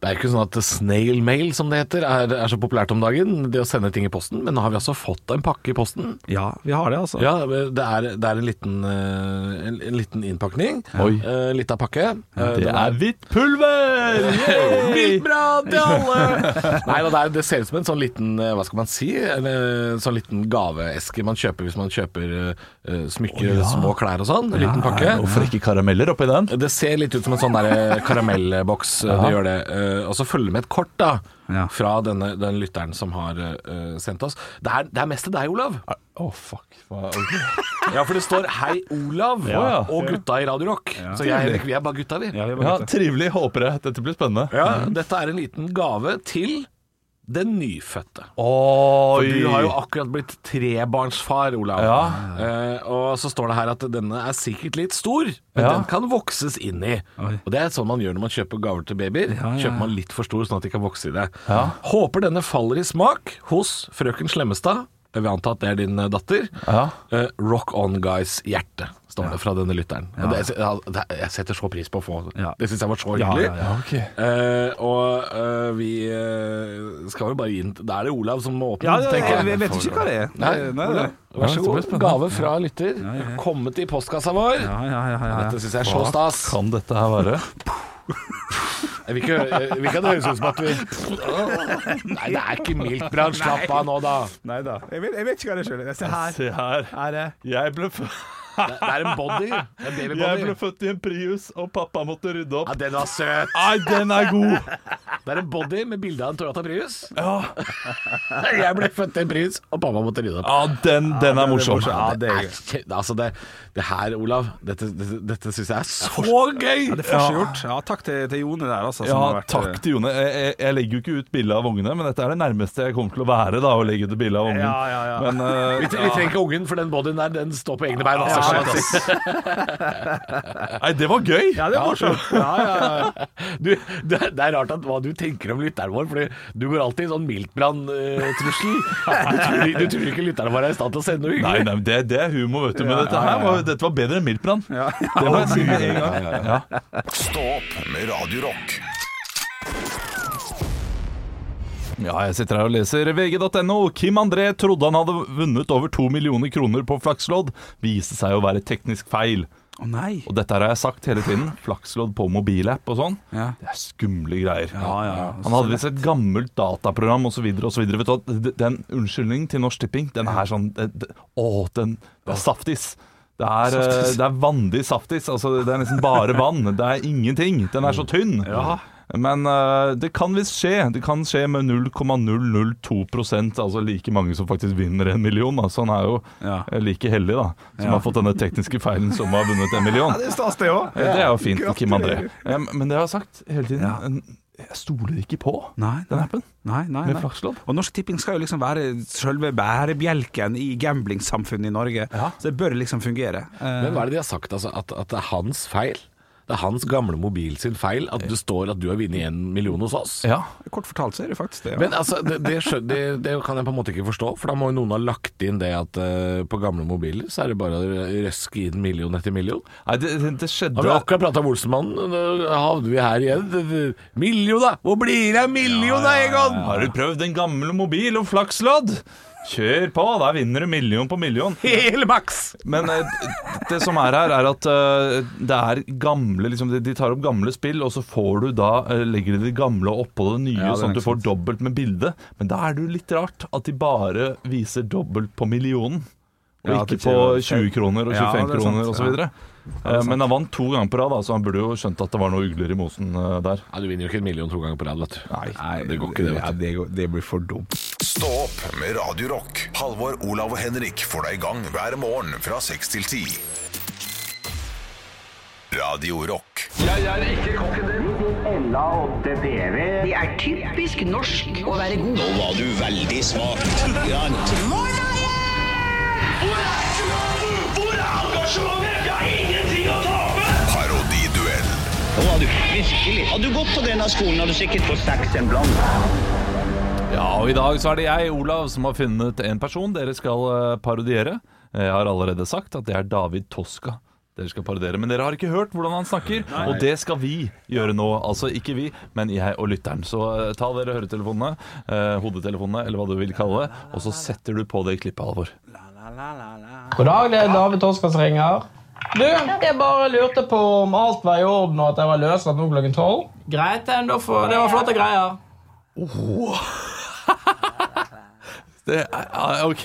[SPEAKER 3] det er ikke sånn at snail mail, som det heter, er, er så populært om dagen. Det å sende ting i posten. Men nå har vi altså fått en pakke i posten.
[SPEAKER 7] Ja, vi har det, altså.
[SPEAKER 3] Ja, det er, det er en, liten, eh, en, en liten innpakning.
[SPEAKER 4] Oi.
[SPEAKER 3] Eh, Litt av pakke. Eh,
[SPEAKER 4] Det
[SPEAKER 3] den
[SPEAKER 4] er hvitt pulver! Yay!
[SPEAKER 3] Bra til alle! Nei, da, det, er, det ser ut som en sånn liten eh, Hva skal man si? En eh, sånn liten gaveeske man kjøper hvis man kjøper eh, smykker, små klær og sånn. En liten pakke.
[SPEAKER 4] Hvorfor ikke karameller oppi den?
[SPEAKER 3] Det ser litt ut som en sånn der karamellboks. Det gjør det. Eh, eh, altså følge med et kort da
[SPEAKER 7] Ja.
[SPEAKER 3] fra denne, den lytteren som har eh, sendt oss. Det er, det er mest til deg, Olav.
[SPEAKER 4] Å, fuck. Hva- ok.
[SPEAKER 3] Ja, for det står 'Hei, Olav'
[SPEAKER 4] Ja.
[SPEAKER 3] og 'Gutta i Radio Rock'. Så jeg og Henrik, vi er bare gutta, vi.
[SPEAKER 7] Ja, vi
[SPEAKER 4] Ja,
[SPEAKER 7] bare gutter.
[SPEAKER 4] Trivelig. Håper jeg. Dette blir spennende.
[SPEAKER 3] Ja,
[SPEAKER 7] Mm.
[SPEAKER 3] dette er en liten gave til den nyfødte. For
[SPEAKER 4] Oi!
[SPEAKER 3] du har jo akkurat blitt trebarnsfar, Olav.
[SPEAKER 4] Ja.
[SPEAKER 3] Eh, og så står det her at denne er sikkert litt stor, men
[SPEAKER 4] Ja.
[SPEAKER 3] den kan vokses inn i.
[SPEAKER 7] Oi.
[SPEAKER 3] Og det er sånn man gjør når man kjøper gaver til babyer.
[SPEAKER 7] ja, ja.
[SPEAKER 3] Kjøper man litt for stor sånn at de kan vokse i det.
[SPEAKER 4] Ja.
[SPEAKER 3] Håper denne faller i smak hos frøken Slemmestad. Jeg vil anta at det er din eh, datter.
[SPEAKER 4] Ja.
[SPEAKER 3] Eh, rock on guys hjerte, står det fra denne lytteren. Og det, ja, det, jeg setter så pris på å få
[SPEAKER 7] Ja.
[SPEAKER 3] Det syns jeg var så
[SPEAKER 7] Ja,
[SPEAKER 3] hyggelig.
[SPEAKER 7] ja, ja.
[SPEAKER 4] Ok.
[SPEAKER 3] Eh, og eh, vi eh, skal jo bare inn Da er det Olav som må åpne,
[SPEAKER 7] Ja, ja,
[SPEAKER 3] tenker jeg.
[SPEAKER 7] jeg, jeg vet ikke hva det er.
[SPEAKER 3] Nei,
[SPEAKER 7] Nei, nei, nei.
[SPEAKER 3] Vær så
[SPEAKER 4] Ja, det blir
[SPEAKER 3] god.
[SPEAKER 4] spennende.
[SPEAKER 3] Gave fra lytter. Kommet i postkassa vår.
[SPEAKER 7] Ja, ja, ja, ja, ja.
[SPEAKER 3] Dette syns jeg er så
[SPEAKER 4] Hva
[SPEAKER 3] stas.
[SPEAKER 4] kan dette her være?
[SPEAKER 3] Jeg vil ikke, jeg vil ikke at det høres ut som at vi Nei, det er ikke miltbrann. Slapp av nå, da.
[SPEAKER 7] Nei da. Jeg vet, jeg vet ikke hva det er sjøl. Se her.
[SPEAKER 4] Se her.
[SPEAKER 7] Her er
[SPEAKER 4] Jeg ble, fø-
[SPEAKER 3] Det det er en body. En
[SPEAKER 4] jeg ble
[SPEAKER 3] babybody.
[SPEAKER 4] født i en Prius, og pappa måtte rydde
[SPEAKER 3] Ja,
[SPEAKER 4] opp.
[SPEAKER 3] den var søt.
[SPEAKER 4] Nei, den er god!
[SPEAKER 3] Det er en body med bilde av en Toyota Prius.
[SPEAKER 4] Ja,
[SPEAKER 3] Jeg ble født til en prins, og pappa måtte rydde opp.
[SPEAKER 4] ja den, den er morsom.
[SPEAKER 7] Ja, det er
[SPEAKER 3] er, ikke- altså det, det her, Olav, dette, dette, dette syns jeg er så gøy!
[SPEAKER 7] det er forseggjort. Ja, takk til, til Jone der, altså. som
[SPEAKER 4] Ja,
[SPEAKER 7] har vært-
[SPEAKER 4] takk til Jone. Jeg, jeg, jeg legger jo ikke ut bilde av ungene, men dette er det nærmeste jeg kommer til å være da, å legge ut bilde av ungen.
[SPEAKER 7] Ja, ja, ja.
[SPEAKER 4] Men eh,
[SPEAKER 3] Vi, tre- vi trenger ikke ungen, for den bodyen der den står på egne bein. Altså.
[SPEAKER 4] shit, ass. Nei, det var gøy!
[SPEAKER 7] Ja, det er morsomt. Ja, ja, ja.
[SPEAKER 3] Du, det, er- det er rart at, hva du tenker om lytteren vår, Fordi du går alltid i sånn miltbrann-trussel. du, tror- du tror ikke lytterne våre er i stand til å sende noe
[SPEAKER 4] Nei,
[SPEAKER 3] hyggelig?
[SPEAKER 4] nei, det, det er humor, vet du. Men dette her var, dette var bedre enn Miltbrann. Det må jeg si med en gang. Ja.
[SPEAKER 1] Stå opp med Radio Rock.
[SPEAKER 4] ja, jeg sitter her og leser vg.no. Kim André trodde han hadde vunnet over to millioner kroner på flakslodd. Viste seg å være teknisk feil.
[SPEAKER 7] Å nei.
[SPEAKER 4] Og dette her har jeg sagt hele tiden. Flakslodd på mobilapp og sånn.
[SPEAKER 7] Ja.
[SPEAKER 4] Det er skumle greier.
[SPEAKER 7] Ja, ja, ja.
[SPEAKER 4] Han hadde visst et gammelt dataprogram osv. Den unnskyldningen til Norsk Tipping, den er sånn det- det- Å, den det er saftis. Det er, eh, det er vandig saftis. Altså, det er nesten bare vann. Det er ingenting. Den er så tynn. Men eh, det kan visst skje. Det kan skje med 0,002 altså like mange som faktisk vinner en million. Da. Så han er jo
[SPEAKER 7] Ja.
[SPEAKER 4] eh, like heldig, da, som har fått denne tekniske feilen som har vunnet en million.
[SPEAKER 7] Det er stas, det
[SPEAKER 4] Ja,
[SPEAKER 7] òg.
[SPEAKER 4] Det er jo fint, Kim André.
[SPEAKER 7] Gratulerer.
[SPEAKER 4] Em, Men det jeg har sagt hele tiden,
[SPEAKER 7] Ja.
[SPEAKER 4] en- jeg stoler ikke på
[SPEAKER 7] Nei,
[SPEAKER 4] den
[SPEAKER 7] nei.
[SPEAKER 4] appen.
[SPEAKER 7] Nei, nei,
[SPEAKER 4] Med
[SPEAKER 7] nei.
[SPEAKER 4] flakslodd.
[SPEAKER 7] Og Norsk Tipping skal jo liksom være selve bærebjelken i gamblingsamfunnet i Norge, så det bør liksom fungere. Eh,
[SPEAKER 3] Men hva er det de har sagt? Altså, at, at det er hans feil? Det er hans gamle mobil sin feil at det står at du har vunnet en million hos oss?
[SPEAKER 4] Ja.
[SPEAKER 7] Kort fortalt så er det faktisk det. Ja.
[SPEAKER 3] Men altså, det, det, skjø- det, det kan jeg på en måte ikke forstå, for da må jo noen ha lagt inn det at eh, på gamle mobiler så er det bare å røske inn million etter million.
[SPEAKER 4] Nei, det, det- det skjedde
[SPEAKER 3] Har vi
[SPEAKER 4] jo
[SPEAKER 3] akkurat prata om Olsenmannen, da havner vi her igjen. Million, da! Hvor blir det av million, da, Egon?
[SPEAKER 4] Har du prøvd en gammel mobil og flakslodd? Kjør på, der vinner du million på million.
[SPEAKER 3] Hele maks!
[SPEAKER 4] Men eh, det som er her, er at eh, det er gamle liksom, de- De tar opp gamle spill, og så får du da eh, legger de det gamle oppå det nye,
[SPEAKER 7] Ja, det er
[SPEAKER 4] sånn at du
[SPEAKER 7] ikke
[SPEAKER 4] får dobbelt med bildet. Men da er det jo litt rart at de bare viser dobbelt på millionen. Og
[SPEAKER 7] Ja, at
[SPEAKER 4] ikke
[SPEAKER 7] det
[SPEAKER 4] på
[SPEAKER 7] ikke-
[SPEAKER 4] 20 kroner og
[SPEAKER 7] Ja,
[SPEAKER 4] 25
[SPEAKER 7] det er sant,
[SPEAKER 4] kroner
[SPEAKER 7] ja.
[SPEAKER 4] osv. Men han vant to ganger på rad, da, så han burde jo skjønt at det var noe ugler i mosen eh, der.
[SPEAKER 3] Ja, du vinner jo ikke en million to ganger på rad, vet du.
[SPEAKER 7] Nei,
[SPEAKER 3] det går ikke det,
[SPEAKER 7] Ja,
[SPEAKER 3] vet du.
[SPEAKER 7] det, går, det blir for dumt.
[SPEAKER 1] Stå opp med Radio Rock. Halvor, Olav og Henrik får deg i gang hver morgen fra 6 til 10. Radio Rock.
[SPEAKER 8] Det er typisk norsk å være god.
[SPEAKER 1] Parodiduell.
[SPEAKER 4] Ja, og i dag så er det jeg, Olav, som har funnet en person dere skal eh, parodiere. Eh, Jeg har allerede sagt at det er David Toska dere skal parodiere. Men dere har ikke hørt hvordan han snakker, og det skal vi gjøre nå. Altså ikke vi, men jeg og lytteren. Så eh, ta dere høretelefonene, eh, hodetelefonene, eller hva du vil kalle det, og så setter du på det klippet, Halvor.
[SPEAKER 9] God dag, det er David Toska som ringer. Du, jeg bare lurte på om alt var i orden og at jeg var løslatt nå klokken tolv. Greit, det, men da får- det var flotte greier.
[SPEAKER 4] Det Det er, ah, ok,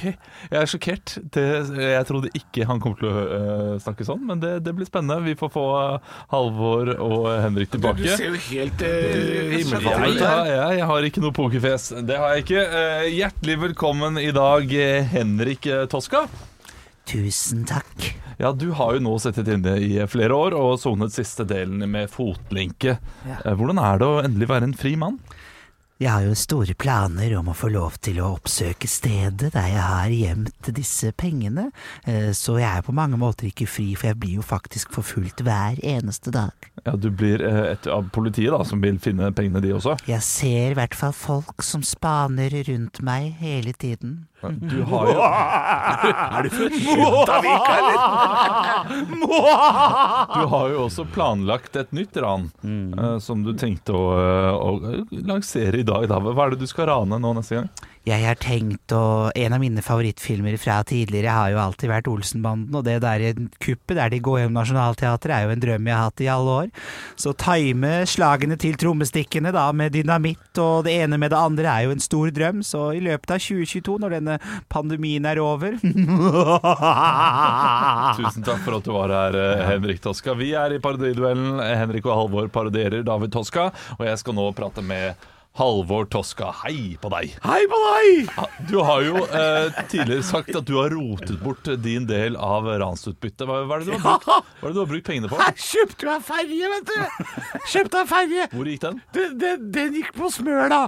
[SPEAKER 4] jeg er sjokkert. Det, jeg trodde ikke han kom til å eh, snakke sånn, men det, det blir spennende. Vi får få eh, Halvor og Henrik tilbake.
[SPEAKER 3] jo helt uh,
[SPEAKER 4] Jeg, jeg, jeg har ikke noe pokerfjes. Det har jeg ikke. Eh, hjertelig velkommen i dag, eh, Henrik eh, Toska.
[SPEAKER 10] Tusen takk.
[SPEAKER 4] Ja, Du har jo nå sittet inne i eh, flere år og sonet siste delen med fotlenke.
[SPEAKER 10] Ja.
[SPEAKER 4] Eh, Hvordan er det å endelig være en fri mann?
[SPEAKER 10] Jeg har jo store planer om å få lov til å oppsøke stedet der jeg har gjemt disse pengene, eh, så jeg er på mange måter ikke fri, for jeg blir jo faktisk forfulgt hver eneste dag.
[SPEAKER 4] Ja, Du blir eh, et av politiet, da, som vil finne pengene, de også.
[SPEAKER 10] Jeg ser i hvert fall folk som spaner rundt meg hele tiden.
[SPEAKER 4] Du har jo
[SPEAKER 3] Er du fra Vika, eller?
[SPEAKER 4] Du har jo også planlagt et nytt ran
[SPEAKER 3] Mm.
[SPEAKER 4] eh, som du tenkte å, eh, å lansere i dag. Da. Hva er det du skal rane nå neste gang?
[SPEAKER 10] Jeg har tenkt, og en av mine favorittfilmer fra tidligere har jo alltid vært Olsenbanden, og det der kuppet der de går hjem Nationaltheatret er jo en drøm jeg har hatt i alle år. Så time slagene til trommestikkene da med dynamitt og det ene med det andre er jo en stor drøm, så i løpet av 2022, når denne pandemien er over
[SPEAKER 4] Tusen takk for at du var her, eh, Henrik Toska. Vi er i parodiduellen. Henrik og Halvor parodierer David Toska, og jeg skal nå prate med Halvor Toska. Hei på deg.
[SPEAKER 3] Hei på deg!
[SPEAKER 4] Ah, Du har jo eh, tidligere sagt at du har rotet bort din del av ransutbyttet. Hva, hva, er det du har brukt- hva er det du har brukt pengene på?
[SPEAKER 3] Her kjøpte jeg ferje, vet du! Kjøpte jeg ferje!
[SPEAKER 4] Hvor gikk den?
[SPEAKER 3] Den, den, den gikk på smøla!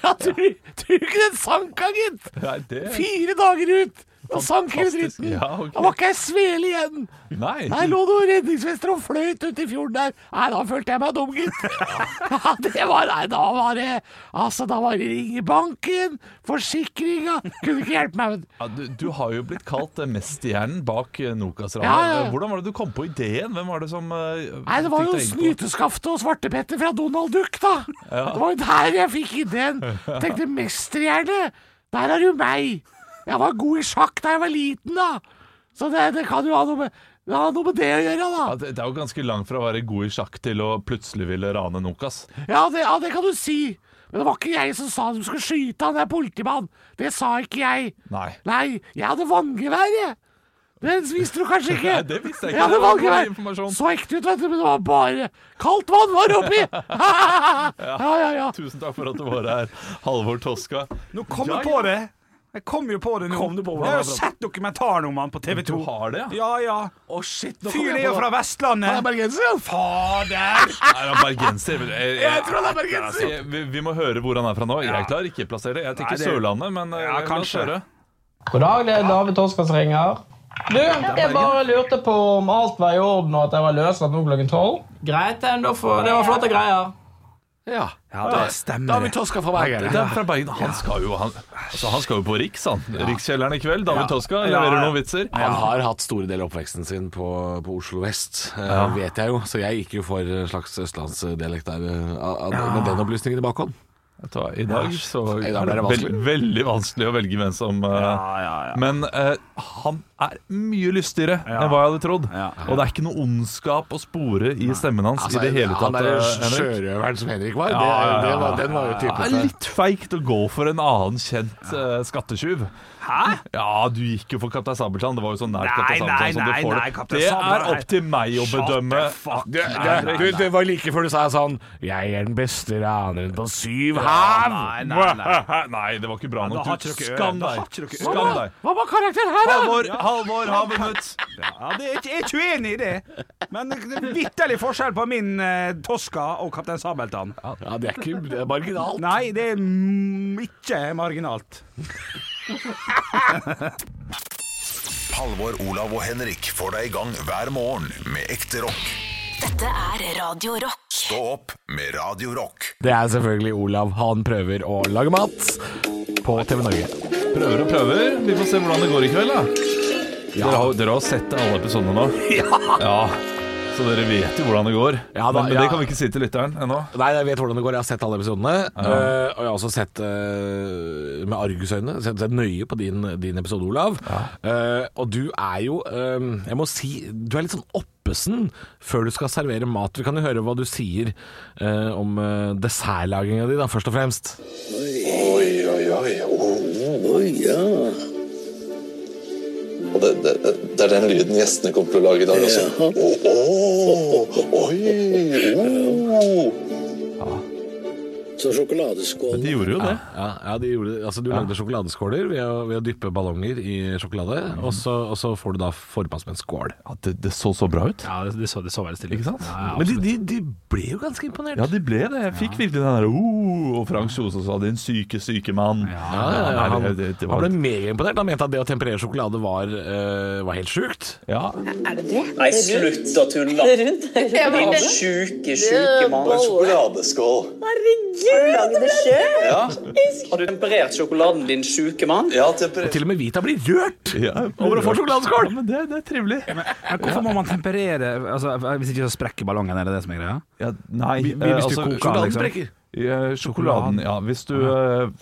[SPEAKER 3] Ja, tror tror du ikke den sank, da, gitt?
[SPEAKER 4] Nei, det
[SPEAKER 3] Fire dager ut! Og sank hele
[SPEAKER 4] Fantastisk.
[SPEAKER 3] dritten.
[SPEAKER 4] Ja, ok.
[SPEAKER 3] Da var ikke ei svele igjen.
[SPEAKER 4] Nei.
[SPEAKER 3] Der lå noen redningsvester og fløyt uti fjorden der. Nei, da følte jeg meg dum, gitt. Ja, det var Nei, da var det Altså, da var det ringe banken, forsikringa Kunne ikke hjelpe meg, vet du.
[SPEAKER 4] Ja, du, du har jo blitt kalt eh, mesterhjernen bak eh, Nokas-ranet.
[SPEAKER 3] Ja, ja, ja.
[SPEAKER 4] Hvordan var det du kom på ideen? Hvem var det som eh,
[SPEAKER 3] Nei, det var jo Snyteskaftet og Svartepetter fra Donald Duck, da. Det var jo der jeg fikk ideen. Tenkte mesterhjerne. Der er jo meg. Jeg var god i sjakk da jeg var liten, da. Så det, det kan jo ha noe med, ha noe med det å gjøre, da.
[SPEAKER 4] Ja, det, det er jo ganske langt fra å være god i sjakk til å plutselig ville rane Nokas.
[SPEAKER 3] Ja det, ja, det kan du si. Men det var ikke jeg som sa de skulle skyte han der politimannen. Det sa ikke jeg.
[SPEAKER 4] Nei.
[SPEAKER 3] jeg hadde vanngevær, jeg. Det visste du kanskje ikke.
[SPEAKER 4] Nei, det visste jeg ikke.
[SPEAKER 3] Jeg hadde
[SPEAKER 4] Det var god
[SPEAKER 3] vanngevær.
[SPEAKER 4] informasjon.
[SPEAKER 3] Så ekte ut, vet du, men det var bare kaldt vann var oppi. ja, ja, ja.
[SPEAKER 4] Tusen takk for at du var her, Halvor Toska.
[SPEAKER 7] Nå kom
[SPEAKER 4] Ja,
[SPEAKER 7] jeg på det! Jeg kom jo på det nå.
[SPEAKER 4] Kom du på det?
[SPEAKER 7] jeg har jo sett dokumentaren om han på TV 2.
[SPEAKER 4] Du har det, ja?
[SPEAKER 7] Ja, ja.
[SPEAKER 4] Å, shit. Nå
[SPEAKER 7] Fyren er jo fra Vestlandet.
[SPEAKER 3] Bergenser, Fader!
[SPEAKER 4] Er han bergenser? Jeg, jeg,
[SPEAKER 3] Jeg tror han er bergenser.
[SPEAKER 4] jeg, vi, vi må høre hvor han er fra nå. Jeg klarer ikke å plassere. Jeg tenker
[SPEAKER 7] Nei, det-
[SPEAKER 4] Sørlandet, men eh,
[SPEAKER 7] Ja,
[SPEAKER 4] la oss
[SPEAKER 7] kanskje.
[SPEAKER 4] høre.
[SPEAKER 9] God dag, det er David Torskas ring her. Du, jeg bare lurte på om alt var i orden og at jeg var løslatt nå klokken tolv. Greit, det var flotte greier.
[SPEAKER 3] Ja.
[SPEAKER 7] Ja, det stemmer.
[SPEAKER 3] Da har vi toska for
[SPEAKER 4] Det
[SPEAKER 3] Bergen.
[SPEAKER 4] er fra Bergen. Han skal jo, han, altså, han skal jo på Riks, han. Rikskjelleren i kveld. David Toska
[SPEAKER 7] Ja,
[SPEAKER 4] leverer
[SPEAKER 7] ja.
[SPEAKER 4] noen vitser.
[SPEAKER 3] Han har hatt store deler av oppveksten sin på, på Oslo vest, eh, vet jeg jo. Så jeg gikk jo for en slags østlandsdialekt der, eh, av- av- med den opplysningen i bakhånd.
[SPEAKER 4] Vet du hva, I dag så
[SPEAKER 3] I dag
[SPEAKER 4] er
[SPEAKER 3] ble det
[SPEAKER 4] det veld,
[SPEAKER 3] vanskelig.
[SPEAKER 4] veldig vanskelig å velge hvem som eh, Men eh, han er mye lystigere enn hva jeg hadde trodd.
[SPEAKER 7] Ja.
[SPEAKER 4] Og det er ikke noe ondskap å spore i stemmen hans
[SPEAKER 3] Altså,
[SPEAKER 4] i det hele tatt.
[SPEAKER 3] Han der
[SPEAKER 4] eh, Henrik.
[SPEAKER 3] sjørøveren som Henrik var,
[SPEAKER 4] Ja, ja, ja,
[SPEAKER 3] Det, det
[SPEAKER 4] ja.
[SPEAKER 3] var den var jo
[SPEAKER 4] Det er
[SPEAKER 3] typete.
[SPEAKER 4] litt feigt å gå for en annen kjent eh, skattetyv. Hæ? Ja, du gikk jo for Kaptein Sabeltann. Det var jo så nært
[SPEAKER 7] Nei,
[SPEAKER 4] Kaptein
[SPEAKER 7] nei,
[SPEAKER 4] Sabeltann som
[SPEAKER 7] nei,
[SPEAKER 4] du får.
[SPEAKER 7] nei, Kaptein
[SPEAKER 4] det er
[SPEAKER 7] Sabeltann,
[SPEAKER 4] opp til meg å
[SPEAKER 7] Shut
[SPEAKER 4] bedømme.
[SPEAKER 7] the fuck
[SPEAKER 3] Det, det, du, det var like før du sa sånn Jeg er den beste raneren på syv hav!
[SPEAKER 7] Nei, nei, nei.
[SPEAKER 4] Nei, det var ikke bra
[SPEAKER 7] da har
[SPEAKER 4] nok. Du,
[SPEAKER 7] ikke dere
[SPEAKER 4] skam
[SPEAKER 7] øren. Da har ikke
[SPEAKER 4] deg.
[SPEAKER 7] dere
[SPEAKER 4] Skam deg.
[SPEAKER 3] Hva var karakteren her, da?
[SPEAKER 4] Halvor, Halvor, ha minutt.
[SPEAKER 7] Ja, det er ikke, jeg er ikke uenig i det, men det er vitterlig forskjell på min eh, Toska og Kaptein Sabeltann.
[SPEAKER 3] Ja, Det er ikke det er marginalt.
[SPEAKER 7] Nei, det er mm, ikke marginalt.
[SPEAKER 1] Halvor, Olav og Henrik får deg i gang hver morgen med ekte rock.
[SPEAKER 2] Dette er Radio Rock.
[SPEAKER 1] Stå opp med Radio Rock.
[SPEAKER 3] Det er selvfølgelig Olav. Han prøver å lage mat på TV Norge.
[SPEAKER 4] Prøver og prøver. Vi får se hvordan det går i kveld, da. Dere, har, dere har sett alle episodene nå? Ja. Så dere vet jo hvordan det går.
[SPEAKER 3] Ja da,
[SPEAKER 4] men, men
[SPEAKER 3] ja.
[SPEAKER 4] det kan vi ikke si til lytteren ennå.
[SPEAKER 3] Nei, jeg vet hvordan det går. Jeg har sett alle episodene. eh, og jeg har også sett eh, med argusøyne, sett, sett nøye på din, din episode, Olav. Eh, og du er jo eh, Jeg må si, du er litt sånn oppesen før du skal servere mat. Vi kan jo høre hva du sier eh, om uh, dessertlaginga di, da, først og fremst.
[SPEAKER 5] Oi, oi, oi. Oh,
[SPEAKER 11] Oi, ja.
[SPEAKER 12] Og det, det, det er den lyden gjestene kommer til å lage i dag også.
[SPEAKER 11] Ja.
[SPEAKER 12] Å, å, oi, å.
[SPEAKER 11] Så sjokoladeskål
[SPEAKER 4] De gjorde jo det.
[SPEAKER 3] Ja, ja de gjorde det. Altså, du lagde sjokoladeskåler ved å, ved å dyppe ballonger i sjokolade, og, så, og så får du da forma som en skål.
[SPEAKER 4] Ja, det, det så så bra ut.
[SPEAKER 7] Ja, det, det så, det så veldig stille ut.
[SPEAKER 4] Ikke sant?
[SPEAKER 7] Ja, ja,
[SPEAKER 3] Men de,
[SPEAKER 7] absolutt.
[SPEAKER 3] de, de ble jo ganske imponert.
[SPEAKER 4] Ja, de ble det. Jeg fikk virkelig den der oh, Og Frank Kjosås sa 'din syke, syke mann'.
[SPEAKER 3] Ja, ja, ja,
[SPEAKER 4] Nei,
[SPEAKER 3] han,
[SPEAKER 4] det- det- det
[SPEAKER 3] han
[SPEAKER 4] var-
[SPEAKER 3] ble megaimponert. Han mente at det å temperere sjokolade var, eh, var helt sjukt.
[SPEAKER 4] Ja,
[SPEAKER 13] Er det det?
[SPEAKER 11] Nei, slutt å tulle. Din sjuke, sjuke mann.
[SPEAKER 13] Det er en
[SPEAKER 11] sjokoladeskål.
[SPEAKER 13] Herregud, det ble det!
[SPEAKER 11] Ja. Har du temperert sjokoladen din, sjuke mann? Ja, temperert.
[SPEAKER 3] Til og med Vita blir rørt
[SPEAKER 4] ja,
[SPEAKER 3] over å få sjokoladeskål!
[SPEAKER 4] men det, det er trivelig.
[SPEAKER 7] Men hvorfor må man temperere altså, Hvis ikke så sprekker ballongen, er det det som er greia?
[SPEAKER 4] Ja, nei,
[SPEAKER 7] Hvis-
[SPEAKER 4] eh,
[SPEAKER 7] hvis du
[SPEAKER 4] altså,
[SPEAKER 7] koker,
[SPEAKER 4] sjokoladen
[SPEAKER 7] liksom.
[SPEAKER 4] sprekker. Ja, eh, sjokoladen, ja. Hvis du, eh,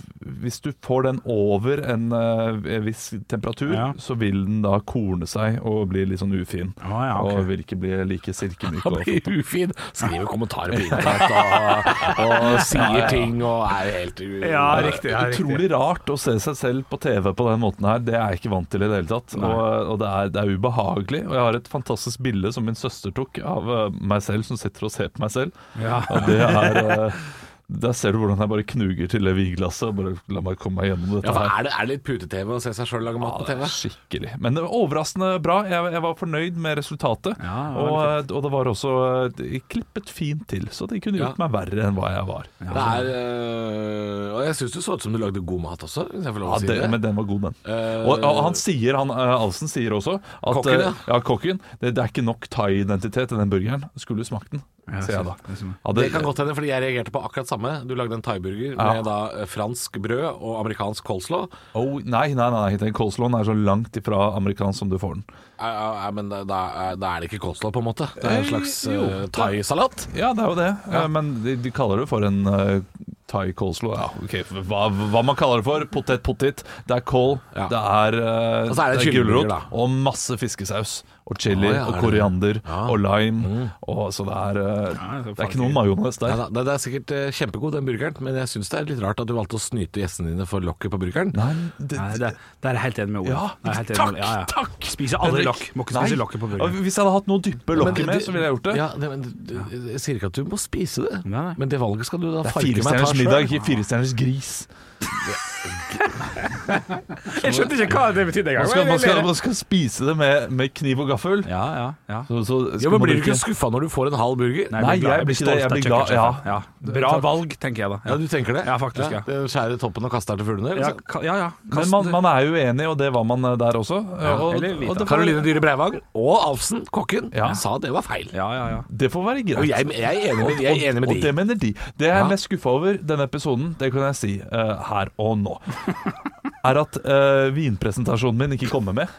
[SPEAKER 4] hvis du får den over en eh, viss temperatur,
[SPEAKER 7] Ja.
[SPEAKER 4] så vil den da korne seg og bli litt sånn ufin.
[SPEAKER 7] Å, Ah, ja, ok.
[SPEAKER 4] Og vil ikke bli like silkemyk.
[SPEAKER 3] Han
[SPEAKER 4] og flott.
[SPEAKER 3] blir ufin. Skriver kommentarer på internett og, og sier ting og er helt u...
[SPEAKER 7] Ja, riktig, ja, riktig.
[SPEAKER 4] Utrolig rart å se seg selv på TV på den måten her. Det er jeg ikke vant til i det hele tatt. Og, og det, er, det er ubehagelig. Og jeg har et fantastisk bilde som min søster tok av eh, meg selv, som sitter og ser på meg selv.
[SPEAKER 7] Ja.
[SPEAKER 4] Og det er eh, Der ser du hvordan jeg bare knuger til det vinglasset. og Bare la meg komme meg
[SPEAKER 3] Ja,
[SPEAKER 4] gjennom dette
[SPEAKER 3] for
[SPEAKER 4] her.
[SPEAKER 3] er det, er det litt pute-TV å se seg sjøl lage mat på TV?
[SPEAKER 4] Skikkelig. Men det var overraskende bra. Jeg, jeg var fornøyd med resultatet.
[SPEAKER 7] Ja, det
[SPEAKER 4] og,
[SPEAKER 7] var
[SPEAKER 4] eh, og det var også eh, klippet fint til, så de kunne
[SPEAKER 3] Ja.
[SPEAKER 4] gjort meg verre enn hva jeg var.
[SPEAKER 3] Det
[SPEAKER 4] altså.
[SPEAKER 3] er, øh, og jeg syns du så ut som du lagde god mat også, hvis jeg får lov
[SPEAKER 4] Ja,
[SPEAKER 3] å si
[SPEAKER 4] det,
[SPEAKER 3] det.
[SPEAKER 4] men den var god, den.
[SPEAKER 3] Eh,
[SPEAKER 4] og, og han sier, han eh, Alsen sier også at
[SPEAKER 3] Kokken, ja.
[SPEAKER 4] eh, ja, kokken det, det er ikke nok thai-identitet i den burgeren. Skulle du smakt den,
[SPEAKER 7] Ja,
[SPEAKER 4] sier jeg da.
[SPEAKER 7] det stemmer.
[SPEAKER 4] Ja,
[SPEAKER 3] det, kan godt hende, fordi jeg reagerte på akkurat samme. Du lagde en thaiburger med da eh, fransk brød og amerikansk coleslaw.
[SPEAKER 4] Oh, nei, nei, nei, nei, den coleslawen er så langt ifra amerikansk som du får den.
[SPEAKER 3] Eh, eh, men da, da, er- da er det ikke coleslaw, på en måte. Det er en
[SPEAKER 4] Eh,
[SPEAKER 3] slags
[SPEAKER 4] jo,
[SPEAKER 3] uh,
[SPEAKER 4] det-
[SPEAKER 3] thaisalat.
[SPEAKER 4] Ja, det er jo det, Eh, men de, de kaller det for en eh, thai coleslaw. Ja, ok, hva, hva man kaller det for? Potet pottit. Det er kål,
[SPEAKER 3] Ja.
[SPEAKER 4] det er, uh,
[SPEAKER 3] Og så er det kyllingburger, da.
[SPEAKER 4] og masse fiskesaus. Og chili
[SPEAKER 3] Å, ja, er
[SPEAKER 4] og
[SPEAKER 3] det-
[SPEAKER 4] koriander
[SPEAKER 3] Ja. Mm.
[SPEAKER 4] og lime. Og, så det er, eh,
[SPEAKER 7] det er
[SPEAKER 4] det er ikke noe majones der.
[SPEAKER 3] Nei, da, det er sikkert eh, kjempegod, den burgeren, men jeg syns det er litt rart at du valgte å snyte gjestene dine for lokket på burgeren.
[SPEAKER 4] Nei, det,
[SPEAKER 7] Nei, det, der er jeg helt enig med Ole.
[SPEAKER 4] Ja,
[SPEAKER 7] Der er jeg helt enig
[SPEAKER 4] takk,
[SPEAKER 7] med Ole. Ja, ja.
[SPEAKER 4] takk!
[SPEAKER 7] Spise aldri
[SPEAKER 4] Henrik.
[SPEAKER 7] lokk. Må ikke spise
[SPEAKER 4] Nei.
[SPEAKER 7] lokket på burgeren.
[SPEAKER 4] Og Hvis jeg hadde hatt noe å dyppe
[SPEAKER 3] Men
[SPEAKER 4] lokket
[SPEAKER 3] det-
[SPEAKER 4] med, så ville jeg gjort det.
[SPEAKER 3] Ja, det, men, du- du- jeg sier ikke at du må spise det,
[SPEAKER 7] Nei, nei.
[SPEAKER 3] men det valget skal du da
[SPEAKER 4] det er
[SPEAKER 3] farge meg
[SPEAKER 4] firestjerners
[SPEAKER 3] selv.
[SPEAKER 4] middag, ikke firestjerners gris.
[SPEAKER 7] Jeg skjønte ikke hva det betydde
[SPEAKER 4] Man skal, man skal, man skal spise det med, med kniv og gaffel.
[SPEAKER 7] Ja, ja, ja.
[SPEAKER 4] Så, så skal
[SPEAKER 3] Ja, men
[SPEAKER 4] man
[SPEAKER 3] Blir du ikke
[SPEAKER 4] drikke-
[SPEAKER 3] skuffa når du får en halv burger?
[SPEAKER 4] Nei, jeg blir ikke det. Jeg blir glad, ja.
[SPEAKER 7] Bra
[SPEAKER 4] Takk.
[SPEAKER 7] valg, tenker jeg da.
[SPEAKER 3] Ja, du tenker det?
[SPEAKER 7] Ja, faktisk, ja.
[SPEAKER 3] Det Skjærer toppen og kaster den til fuglene?
[SPEAKER 7] Ja,
[SPEAKER 3] Liksom.
[SPEAKER 7] ka- ja, ja.
[SPEAKER 4] Men
[SPEAKER 7] Kast
[SPEAKER 4] man,
[SPEAKER 7] det.
[SPEAKER 4] man er jo uenig, og det var man eh, der også. og,
[SPEAKER 7] eller Vita.
[SPEAKER 4] og det, får,
[SPEAKER 3] Karoline Dyhre Breivang og Alfsen, kokken,
[SPEAKER 4] Ja.
[SPEAKER 3] sa det var feil.
[SPEAKER 7] Ja, ja, ja.
[SPEAKER 4] det får være greit.
[SPEAKER 3] Og jeg, jeg er enig med, jeg er enig med
[SPEAKER 4] og det
[SPEAKER 3] de.
[SPEAKER 4] mener de. Det jeg er
[SPEAKER 3] Ja.
[SPEAKER 4] mest skuffa over denne episoden, det kan jeg si eh, her og nå, er at eh, vinpresentasjonen min ikke kommer med. Ja,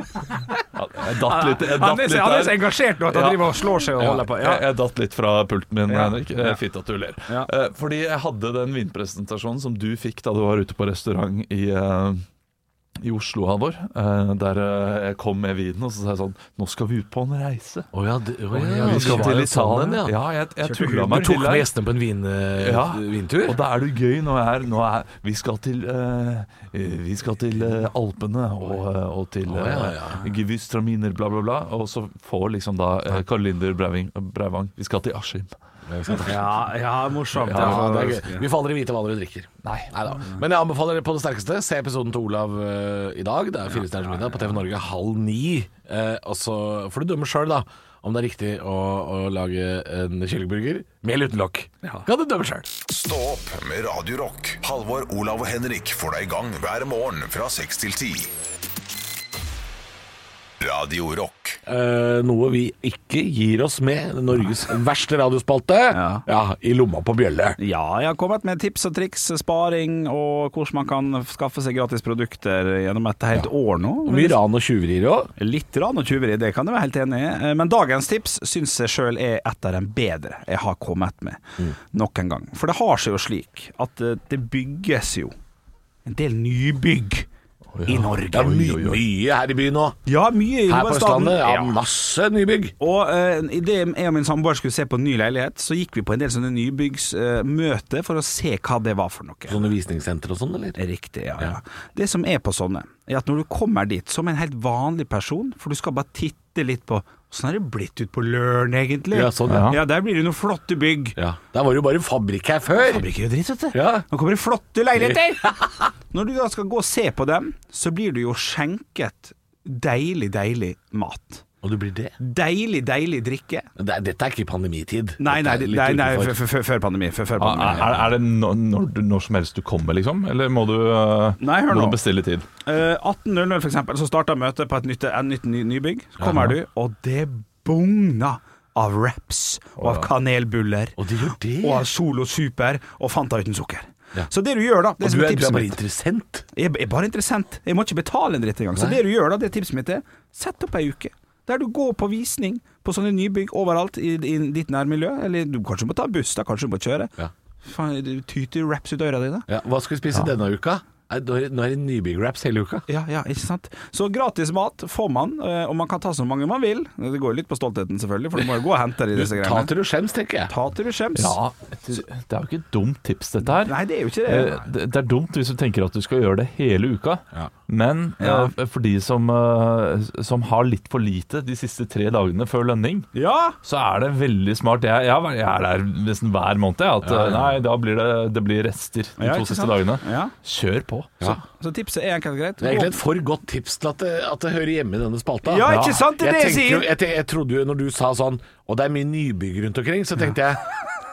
[SPEAKER 4] Jeg
[SPEAKER 3] Ah,
[SPEAKER 4] datt litt, jeg datt
[SPEAKER 7] Han er,
[SPEAKER 4] litt
[SPEAKER 7] så- han er så
[SPEAKER 4] der.
[SPEAKER 7] engasjert nå at han
[SPEAKER 4] Ja.
[SPEAKER 7] driver og slår seg og
[SPEAKER 4] Ja,
[SPEAKER 7] holder på. Ja.
[SPEAKER 4] jeg, jeg datt litt fra pulten min,
[SPEAKER 7] Ja.
[SPEAKER 4] Henrik. Eh, Fint at du ler.
[SPEAKER 7] Ja.
[SPEAKER 4] Eh, fordi jeg hadde den vinpresentasjonen som du fikk da du var ute på restaurant i, eh, i Oslo, Halvor. Eh, der eh, jeg kom med vinen, og så sa jeg sånn Nå skal vi ut på en reise.
[SPEAKER 3] Å ja, det- å ja,
[SPEAKER 4] vi
[SPEAKER 3] det
[SPEAKER 4] skal
[SPEAKER 3] var
[SPEAKER 4] til
[SPEAKER 3] jo sånn,
[SPEAKER 4] Italia.
[SPEAKER 3] ja.
[SPEAKER 4] Ja, jeg, jeg
[SPEAKER 7] Kjørte
[SPEAKER 4] tulla
[SPEAKER 7] Uber
[SPEAKER 4] meg
[SPEAKER 3] Du tok
[SPEAKER 4] til
[SPEAKER 3] med
[SPEAKER 4] der.
[SPEAKER 3] gjestene på en vin, eh,
[SPEAKER 4] Ja.
[SPEAKER 3] vintur?
[SPEAKER 4] Og da er det gøy når jeg er, når jeg er Vi skal til, eh, eh, vi skal til eh, Alpene og, eh, og til
[SPEAKER 3] Å, ja, ja.
[SPEAKER 4] eh, Gewürztraminer, bla, bla, bla. Og så får liksom da eh, Karolinder Breiving, Breivang Vi skal til Askim.
[SPEAKER 7] Ja, ja, morsomt.
[SPEAKER 3] Ja,
[SPEAKER 7] Ja,
[SPEAKER 3] det er gøy. Vi får aldri vite hva dere drikker. Mm.
[SPEAKER 4] Nei.
[SPEAKER 3] Neida. Men jeg anbefaler dere på det sterkeste. Se episoden til Olav eh, i dag. Det er Fire stjerners middag på TV Norge halv ni. Eh, og så får du dømme sjøl, da, om det er riktig å, å lage en kyllingburger med eller uten lokk. Kan du dømme sjøl.
[SPEAKER 1] Stå opp med Radio Rock. Halvor, Olav og Henrik får deg i gang hver morgen fra 6 til 10. Radio Rock.
[SPEAKER 3] Eh, noe vi ikke gir oss med. Norges verste radiospalte. Ja. I lomma på bjølle.
[SPEAKER 7] Ja, jeg har kommet med tips og triks, sparing og hvordan man kan skaffe seg gratis produkter gjennom et helt år nå.
[SPEAKER 3] Mye ran og tjuverier òg.
[SPEAKER 7] Litt ran og tyveri, det kan jeg være helt enig i. Eh, Men dagens tips syns jeg sjøl er et av de bedre jeg har kommet med
[SPEAKER 3] Mm.
[SPEAKER 7] nok en gang. For det har seg jo slik at eh, det bygges jo en del nybygg
[SPEAKER 3] i Norge. Det er my mye her i byen nå.
[SPEAKER 7] Ja, mye i
[SPEAKER 3] Her på
[SPEAKER 7] hovedstaden.
[SPEAKER 3] Østlandet, ja,
[SPEAKER 7] Ja.
[SPEAKER 3] masse nybygg.
[SPEAKER 7] Og uh, Idet jeg og min samboer skulle se på en ny leilighet, så gikk vi på en del sånne nybyggsmøter for å se hva det var for noe.
[SPEAKER 3] Sånne visningssenter og sånn, eller?
[SPEAKER 7] Riktig, ja, ja. Det som er på sånne, er at når du kommer dit som en helt vanlig person, for du skal bare titte litt på Åssen har det blitt ut på Løren, egentlig?
[SPEAKER 3] Ja, sånn, ja.
[SPEAKER 7] ja Der blir det noen flotte bygg.
[SPEAKER 3] Ja. Der var det jo bare fabrikk her før.
[SPEAKER 7] Fabrikk er jo dritt, vet du.
[SPEAKER 3] Ja.
[SPEAKER 7] Nå kommer det flotte leiligheter! Når du da skal gå og se på dem, så blir du jo skjenket deilig, deilig mat.
[SPEAKER 3] Og du blir det?
[SPEAKER 7] Deilig, deilig drikke.
[SPEAKER 3] Det, er- dette er ikke pandemitid.
[SPEAKER 7] Nei, nei,
[SPEAKER 3] Dette er litt
[SPEAKER 7] nei, nei,
[SPEAKER 3] utenfor.
[SPEAKER 7] før- før før pandemi. Før, før
[SPEAKER 4] Ja,
[SPEAKER 7] pandemi.
[SPEAKER 4] Er, er det når, når, du- når som helst du kommer, liksom? Eller må du, eh,
[SPEAKER 7] Nei, hør
[SPEAKER 4] må
[SPEAKER 7] nå.
[SPEAKER 4] du bestille tid?
[SPEAKER 7] Eh, 18.00 for eksempel, så starter møtet på et nytt, en nytt ny, nybygg. Så
[SPEAKER 4] Ja.
[SPEAKER 7] kommer du, og det bugner av wraps og
[SPEAKER 4] Å,
[SPEAKER 7] av
[SPEAKER 4] ja.
[SPEAKER 7] kanelbuller.
[SPEAKER 3] Og det gjør det.
[SPEAKER 7] Og av Solo Super og Fanta uten sukker. Så det du gjør da det
[SPEAKER 3] Og
[SPEAKER 7] som
[SPEAKER 3] du er, du
[SPEAKER 7] tipset
[SPEAKER 3] er bare
[SPEAKER 7] mitt-
[SPEAKER 3] interessent.
[SPEAKER 7] Jeg er bare interessant. Jeg må ikke betale en dritt engang. Så
[SPEAKER 3] Nei.
[SPEAKER 7] det du gjør da, det tipset mitt er, sett opp ei uke. Der du går på visning på sånne nybygg overalt i, i ditt nærmiljø. Eller du kanskje må ta buss, da kanskje du må kjøre.
[SPEAKER 3] Ja.
[SPEAKER 7] Faen, du tyter wraps ut av øra dine.
[SPEAKER 3] Ja. Hva skal vi spise denne uka? Nei, Nå er det- nå er det nybygg-wraps hele uka.
[SPEAKER 7] Ja, ja, ikke sant? Så gratis mat får man, eh, og man kan ta så mange man vil. Det går jo litt på stoltheten, selvfølgelig, for du må jo gå og hente det i disse
[SPEAKER 3] Ta
[SPEAKER 7] greiene.
[SPEAKER 3] til du skjems, tenker jeg.
[SPEAKER 7] Ta til du skjems.
[SPEAKER 4] Ja, det det er jo ikke et dumt tips, dette her.
[SPEAKER 7] Nei, det er jo ikke det.
[SPEAKER 4] Eh, Det, det er dumt hvis du tenker at du skal gjøre det hele uka, men
[SPEAKER 7] Ja.
[SPEAKER 4] eh, for de som, eh, som har litt for lite de siste tre dagene før lønning,
[SPEAKER 7] Ja!
[SPEAKER 4] så er det veldig smart. Jeg, jeg, er- jeg er der nesten hver måned, jeg. At
[SPEAKER 3] Ja,
[SPEAKER 4] eh,
[SPEAKER 3] ja.
[SPEAKER 4] nei, da blir det, det blir rester de
[SPEAKER 7] Ja,
[SPEAKER 4] to
[SPEAKER 7] ikke
[SPEAKER 4] siste
[SPEAKER 7] sant?
[SPEAKER 4] dagene.
[SPEAKER 7] Ja.
[SPEAKER 4] Kjør på.
[SPEAKER 3] Ja.
[SPEAKER 7] Så tipset er enkelt og greit.
[SPEAKER 3] Det er egentlig et for godt tips til at det, at det hører hjemme i denne spalta.
[SPEAKER 7] Ja, ikke sant? Det er
[SPEAKER 3] jeg
[SPEAKER 7] det jeg
[SPEAKER 3] tenker jo-
[SPEAKER 7] sier.
[SPEAKER 3] Jeg, te- jeg trodde jo når du sa sånn Og det er mye nybygg rundt omkring, så tenkte jeg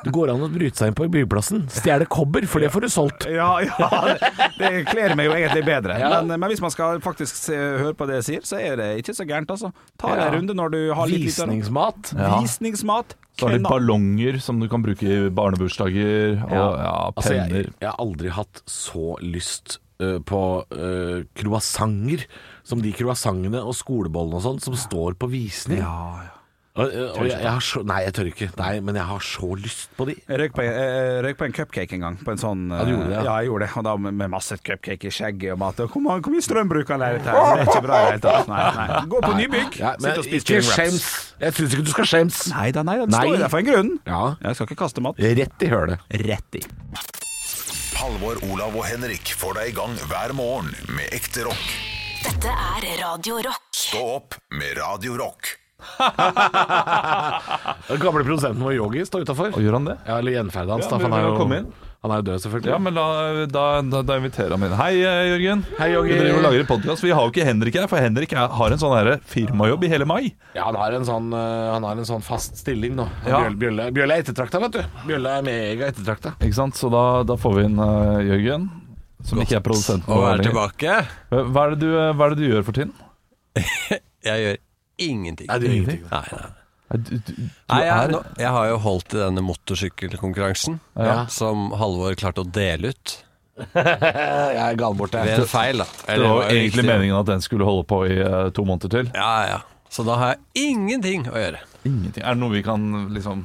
[SPEAKER 3] det går an å bryte seg inn på byggeplassen. Stjele kobber, for det får du solgt.
[SPEAKER 7] Ja, ja, det, det kler meg jo egentlig bedre.
[SPEAKER 3] Ja.
[SPEAKER 7] Men, men hvis man skal faktisk se, høre på det jeg sier, så er det ikke så gærent, altså. Ta
[SPEAKER 3] Ja.
[SPEAKER 7] deg en runde når du har litt lite-
[SPEAKER 3] Visningsmat.
[SPEAKER 4] Ja.
[SPEAKER 7] Visningsmat.
[SPEAKER 4] Så har de
[SPEAKER 7] knall.
[SPEAKER 4] ballonger som du kan bruke i barnebursdager, og ja,
[SPEAKER 3] Altså,
[SPEAKER 4] penner.
[SPEAKER 3] jeg, jeg har aldri hatt så lyst eh, på uh, croissanter som de croissantene og skolebollene og sånn som står på visning.
[SPEAKER 7] Ja, ja.
[SPEAKER 3] Og, eh, og jeg, jeg har så, nei, jeg tør ikke. Nei, men jeg har så lyst på de.
[SPEAKER 7] Jeg røyk på, en- jeg røyk på en cupcake en gang. På en sånn,
[SPEAKER 3] Ja, du gjorde det, ja.
[SPEAKER 7] ja. jeg gjorde det. Og da med, med masse cupcake i skjegget og mat. Og hvor, mange, hvor mye strøm bruker han her? Det er ikke bra i det hele tatt. Nei, nei. Gå på nybygg,
[SPEAKER 3] Ja,
[SPEAKER 7] sitt
[SPEAKER 3] men
[SPEAKER 7] og spis
[SPEAKER 3] ikke
[SPEAKER 7] chicken wraps.
[SPEAKER 3] skjems. Jeg syns ikke du skal skjems.
[SPEAKER 7] Nei da, nei da. Det
[SPEAKER 3] Nei.
[SPEAKER 7] står jo der for en grunn.
[SPEAKER 3] Ja,
[SPEAKER 7] Jeg skal ikke kaste mat.
[SPEAKER 3] rett i hølet.
[SPEAKER 7] Rett i.
[SPEAKER 1] Halvor, Olav og Henrik får deg i gang hver morgen med ekte rock.
[SPEAKER 2] Dette er Radio Rock.
[SPEAKER 1] Stå opp med Radio Rock.
[SPEAKER 3] Den gamle produsenten vår, Yogi, står utafor.
[SPEAKER 4] Og gjør han det?
[SPEAKER 3] Ja, eller gjenferdet hans.
[SPEAKER 4] Ja,
[SPEAKER 3] da, for
[SPEAKER 4] men
[SPEAKER 3] han, er
[SPEAKER 4] vi må komme
[SPEAKER 3] jo,
[SPEAKER 4] inn.
[SPEAKER 3] han er jo død, selvfølgelig.
[SPEAKER 4] Ja, men la, da, da, da inviterer han meg inn. Hei, eh, Jørgen.
[SPEAKER 3] Hei, Jørgen.
[SPEAKER 4] Vi driver og lager en podcast. Vi har jo ikke Henrik her, for Henrik er, har en sånn her firmajobb i hele mai.
[SPEAKER 3] Ja, han har en sånn, eh, han har en sånn fast stilling nå.
[SPEAKER 4] Ja.
[SPEAKER 3] Bjølle, bjølle, bjølle er ettertrakta, vet du. Bjølle er mega ettertrakta.
[SPEAKER 4] Ikke sant? Så da, da får vi inn eh, Jørgen, som ikke er produsenten
[SPEAKER 14] Og er
[SPEAKER 4] lenger.
[SPEAKER 14] tilbake.
[SPEAKER 4] Hva er, det du, eh, hva er det du gjør for tiden?
[SPEAKER 14] Jeg gjør ingenting.
[SPEAKER 3] Er det ingenting?
[SPEAKER 14] Nei, nei.
[SPEAKER 4] Er Du, du, du
[SPEAKER 14] Nei, jeg,
[SPEAKER 4] er
[SPEAKER 14] nå, jeg har jo holdt i denne motorsykkelkonkurransen
[SPEAKER 4] Ja.
[SPEAKER 14] som Halvor klarte å dele ut
[SPEAKER 3] Jeg er gal borte.
[SPEAKER 14] ved en feil. Da.
[SPEAKER 4] Det var jo
[SPEAKER 14] riktig.
[SPEAKER 4] egentlig meningen at den skulle holde på i eh, to måneder til.
[SPEAKER 14] Ja, ja. Så da har jeg ingenting å gjøre.
[SPEAKER 4] Ingenting. Er det noe vi kan liksom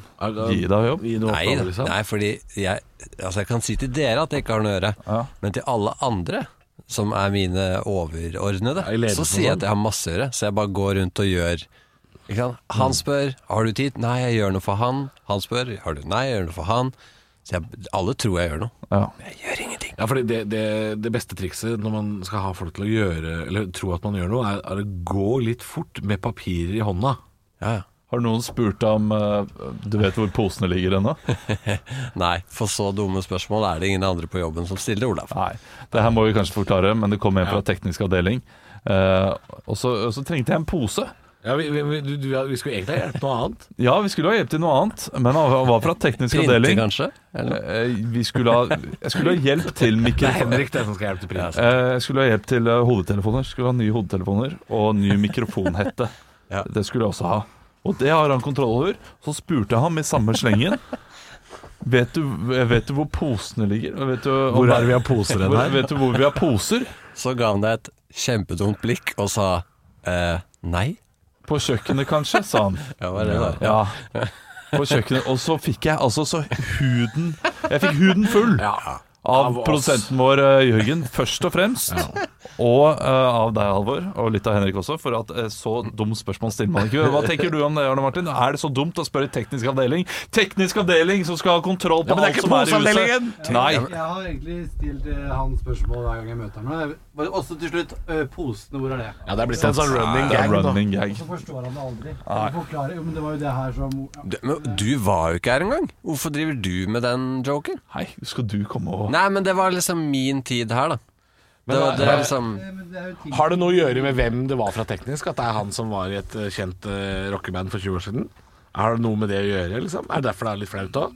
[SPEAKER 4] gi deg jobb?
[SPEAKER 3] Gi noe
[SPEAKER 14] Nei,
[SPEAKER 3] oppgave,
[SPEAKER 14] da.
[SPEAKER 3] liksom.
[SPEAKER 14] nei fordi jeg, altså jeg kan si til dere at jeg ikke har noe å gjøre,
[SPEAKER 4] Ja.
[SPEAKER 14] men til alle andre som er mine overordnede,
[SPEAKER 3] Ja, i ledelsen
[SPEAKER 14] så
[SPEAKER 3] og
[SPEAKER 14] sier jeg
[SPEAKER 3] sånn.
[SPEAKER 14] at jeg har masse å gjøre. Så jeg bare går rundt og gjør ikke sant? Han spør har du tid. Nei, jeg gjør noe for han. Han spør har du nei, jeg gjør noe for han. Så jeg, alle tror jeg gjør noe.
[SPEAKER 4] Ja.
[SPEAKER 14] Jeg gjør ingenting.
[SPEAKER 3] Ja, fordi det, det, det beste trikset når man skal ha folk til å gjøre Eller tro at man gjør noe, er, er å gå litt fort med papirer i hånda.
[SPEAKER 14] Ja, ja.
[SPEAKER 4] Har noen spurt om eh, Du vet hvor posene ligger ennå?
[SPEAKER 14] Nei, for så dumme spørsmål er det ingen andre på jobben som stiller, Olav.
[SPEAKER 4] Nei, det her må vi kanskje forklare, men det kom en fra teknisk avdeling. Eh, og, så, og så trengte jeg en pose.
[SPEAKER 3] Ja, Vi, vi, vi, du, du, vi skulle egentlig ha hjulpet noe annet.
[SPEAKER 4] Ja, vi skulle ha hjelp til noe annet, men han var fra teknisk
[SPEAKER 14] Printe,
[SPEAKER 4] avdeling.
[SPEAKER 14] kanskje? Eller?
[SPEAKER 4] Eh, vi skulle ha, jeg skulle ha hjelp
[SPEAKER 3] Det
[SPEAKER 4] til
[SPEAKER 3] er
[SPEAKER 4] mikrofon.
[SPEAKER 3] Henrik det er som skal hjelpe til prins.
[SPEAKER 4] Eh, jeg skulle ha hjelp til eh, hovedtelefoner. Skulle ha nye hodetelefoner og ny mikrofonhette.
[SPEAKER 14] Ja.
[SPEAKER 4] Det skulle jeg også ha. Og det har han kontroll over. Så spurte jeg ham i samme slengen. Vet du, eh, vet du hvor posene ligger? Vet du, om-
[SPEAKER 3] Hvor er det vi har poser hen
[SPEAKER 4] Hvor-
[SPEAKER 3] her?
[SPEAKER 4] Vet du hvor vi har poser?
[SPEAKER 14] Så ga han deg et kjempedumt blikk og sa eh, nei.
[SPEAKER 4] På kjøkkenet, kanskje, sa han.
[SPEAKER 14] Ja, hva er det da?
[SPEAKER 4] Ja. På kjøkkenet. Og så fikk jeg altså så huden Jeg fikk huden full Av,
[SPEAKER 3] Av oss.
[SPEAKER 4] produsenten vår eh, Jørgen, først og fremst. Og eh, av deg, Halvor, og litt av Henrik også, for at eh, så dumt spørsmål stiller man ikke. Hva tenker du om det, Arne Martin? Er det så dumt å spørre teknisk avdeling? Teknisk avdeling som skal ha kontroll på
[SPEAKER 15] Ja, men det
[SPEAKER 4] alt
[SPEAKER 15] er
[SPEAKER 4] som er i
[SPEAKER 15] ikke
[SPEAKER 4] huset!
[SPEAKER 15] Jeg
[SPEAKER 4] Nei.
[SPEAKER 15] har egentlig stilt eh, han spørsmål hver gang jeg møter ham. men jeg- bare- Også til slutt ø, posene, hvor er det?
[SPEAKER 3] Ja, det er blitt en sånn running
[SPEAKER 4] Det er
[SPEAKER 3] gag, da.
[SPEAKER 4] running gag.
[SPEAKER 15] Og så forstår han det aldri.
[SPEAKER 14] Nei.
[SPEAKER 15] Han forklarer, jo, men det var jo det her som
[SPEAKER 14] Du, men du var jo ikke her engang. Hvorfor driver du med den joken?
[SPEAKER 4] Nei, skal du komme og
[SPEAKER 14] Nei, men det var liksom min tid her, da.
[SPEAKER 3] Men
[SPEAKER 14] det,
[SPEAKER 3] er-
[SPEAKER 14] var, det
[SPEAKER 3] er-
[SPEAKER 14] er liksom
[SPEAKER 3] Har det noe å gjøre med hvem det var fra teknisk? At det er han som var i et eh, kjent eh, rockeband for 20 år siden? Har det noe med det å gjøre? liksom? Er det derfor det er litt flaut òg?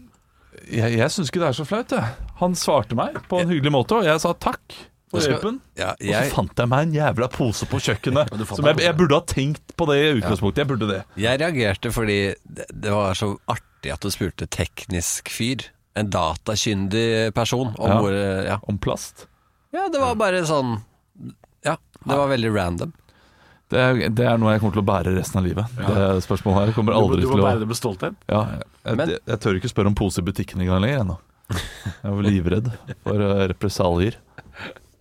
[SPEAKER 4] Jeg, jeg syns ikke det er så flaut, jeg. Han svarte meg på en hyggelig måte, og jeg sa takk for
[SPEAKER 14] Jeg skal-
[SPEAKER 4] hjelpen.
[SPEAKER 14] Ja,
[SPEAKER 4] Og
[SPEAKER 14] jeg-
[SPEAKER 4] så fant jeg meg en jævla pose på kjøkkenet.
[SPEAKER 14] du fant
[SPEAKER 4] Som
[SPEAKER 14] deg
[SPEAKER 4] jeg,
[SPEAKER 14] en
[SPEAKER 4] jeg burde ha tenkt på det i utgangspunktet. Jeg burde det.
[SPEAKER 14] Jeg reagerte fordi det, det var så artig at du spurte teknisk fyr. En datakyndig person om
[SPEAKER 4] Ja.
[SPEAKER 14] hvor eh, ja.
[SPEAKER 4] Om plast?
[SPEAKER 14] Ja, det var bare sånn Ja, det var veldig random.
[SPEAKER 4] Det er, det er noe jeg kommer til å bære resten av livet. Det spørsmålet her kommer
[SPEAKER 3] Du må-
[SPEAKER 4] aldri
[SPEAKER 3] du må
[SPEAKER 4] til å
[SPEAKER 3] bære det med stolthet.
[SPEAKER 4] Ja, jeg, jeg, jeg tør ikke spørre om pose i butikken engang lenger ennå. Jeg var livredd for eh, represalier.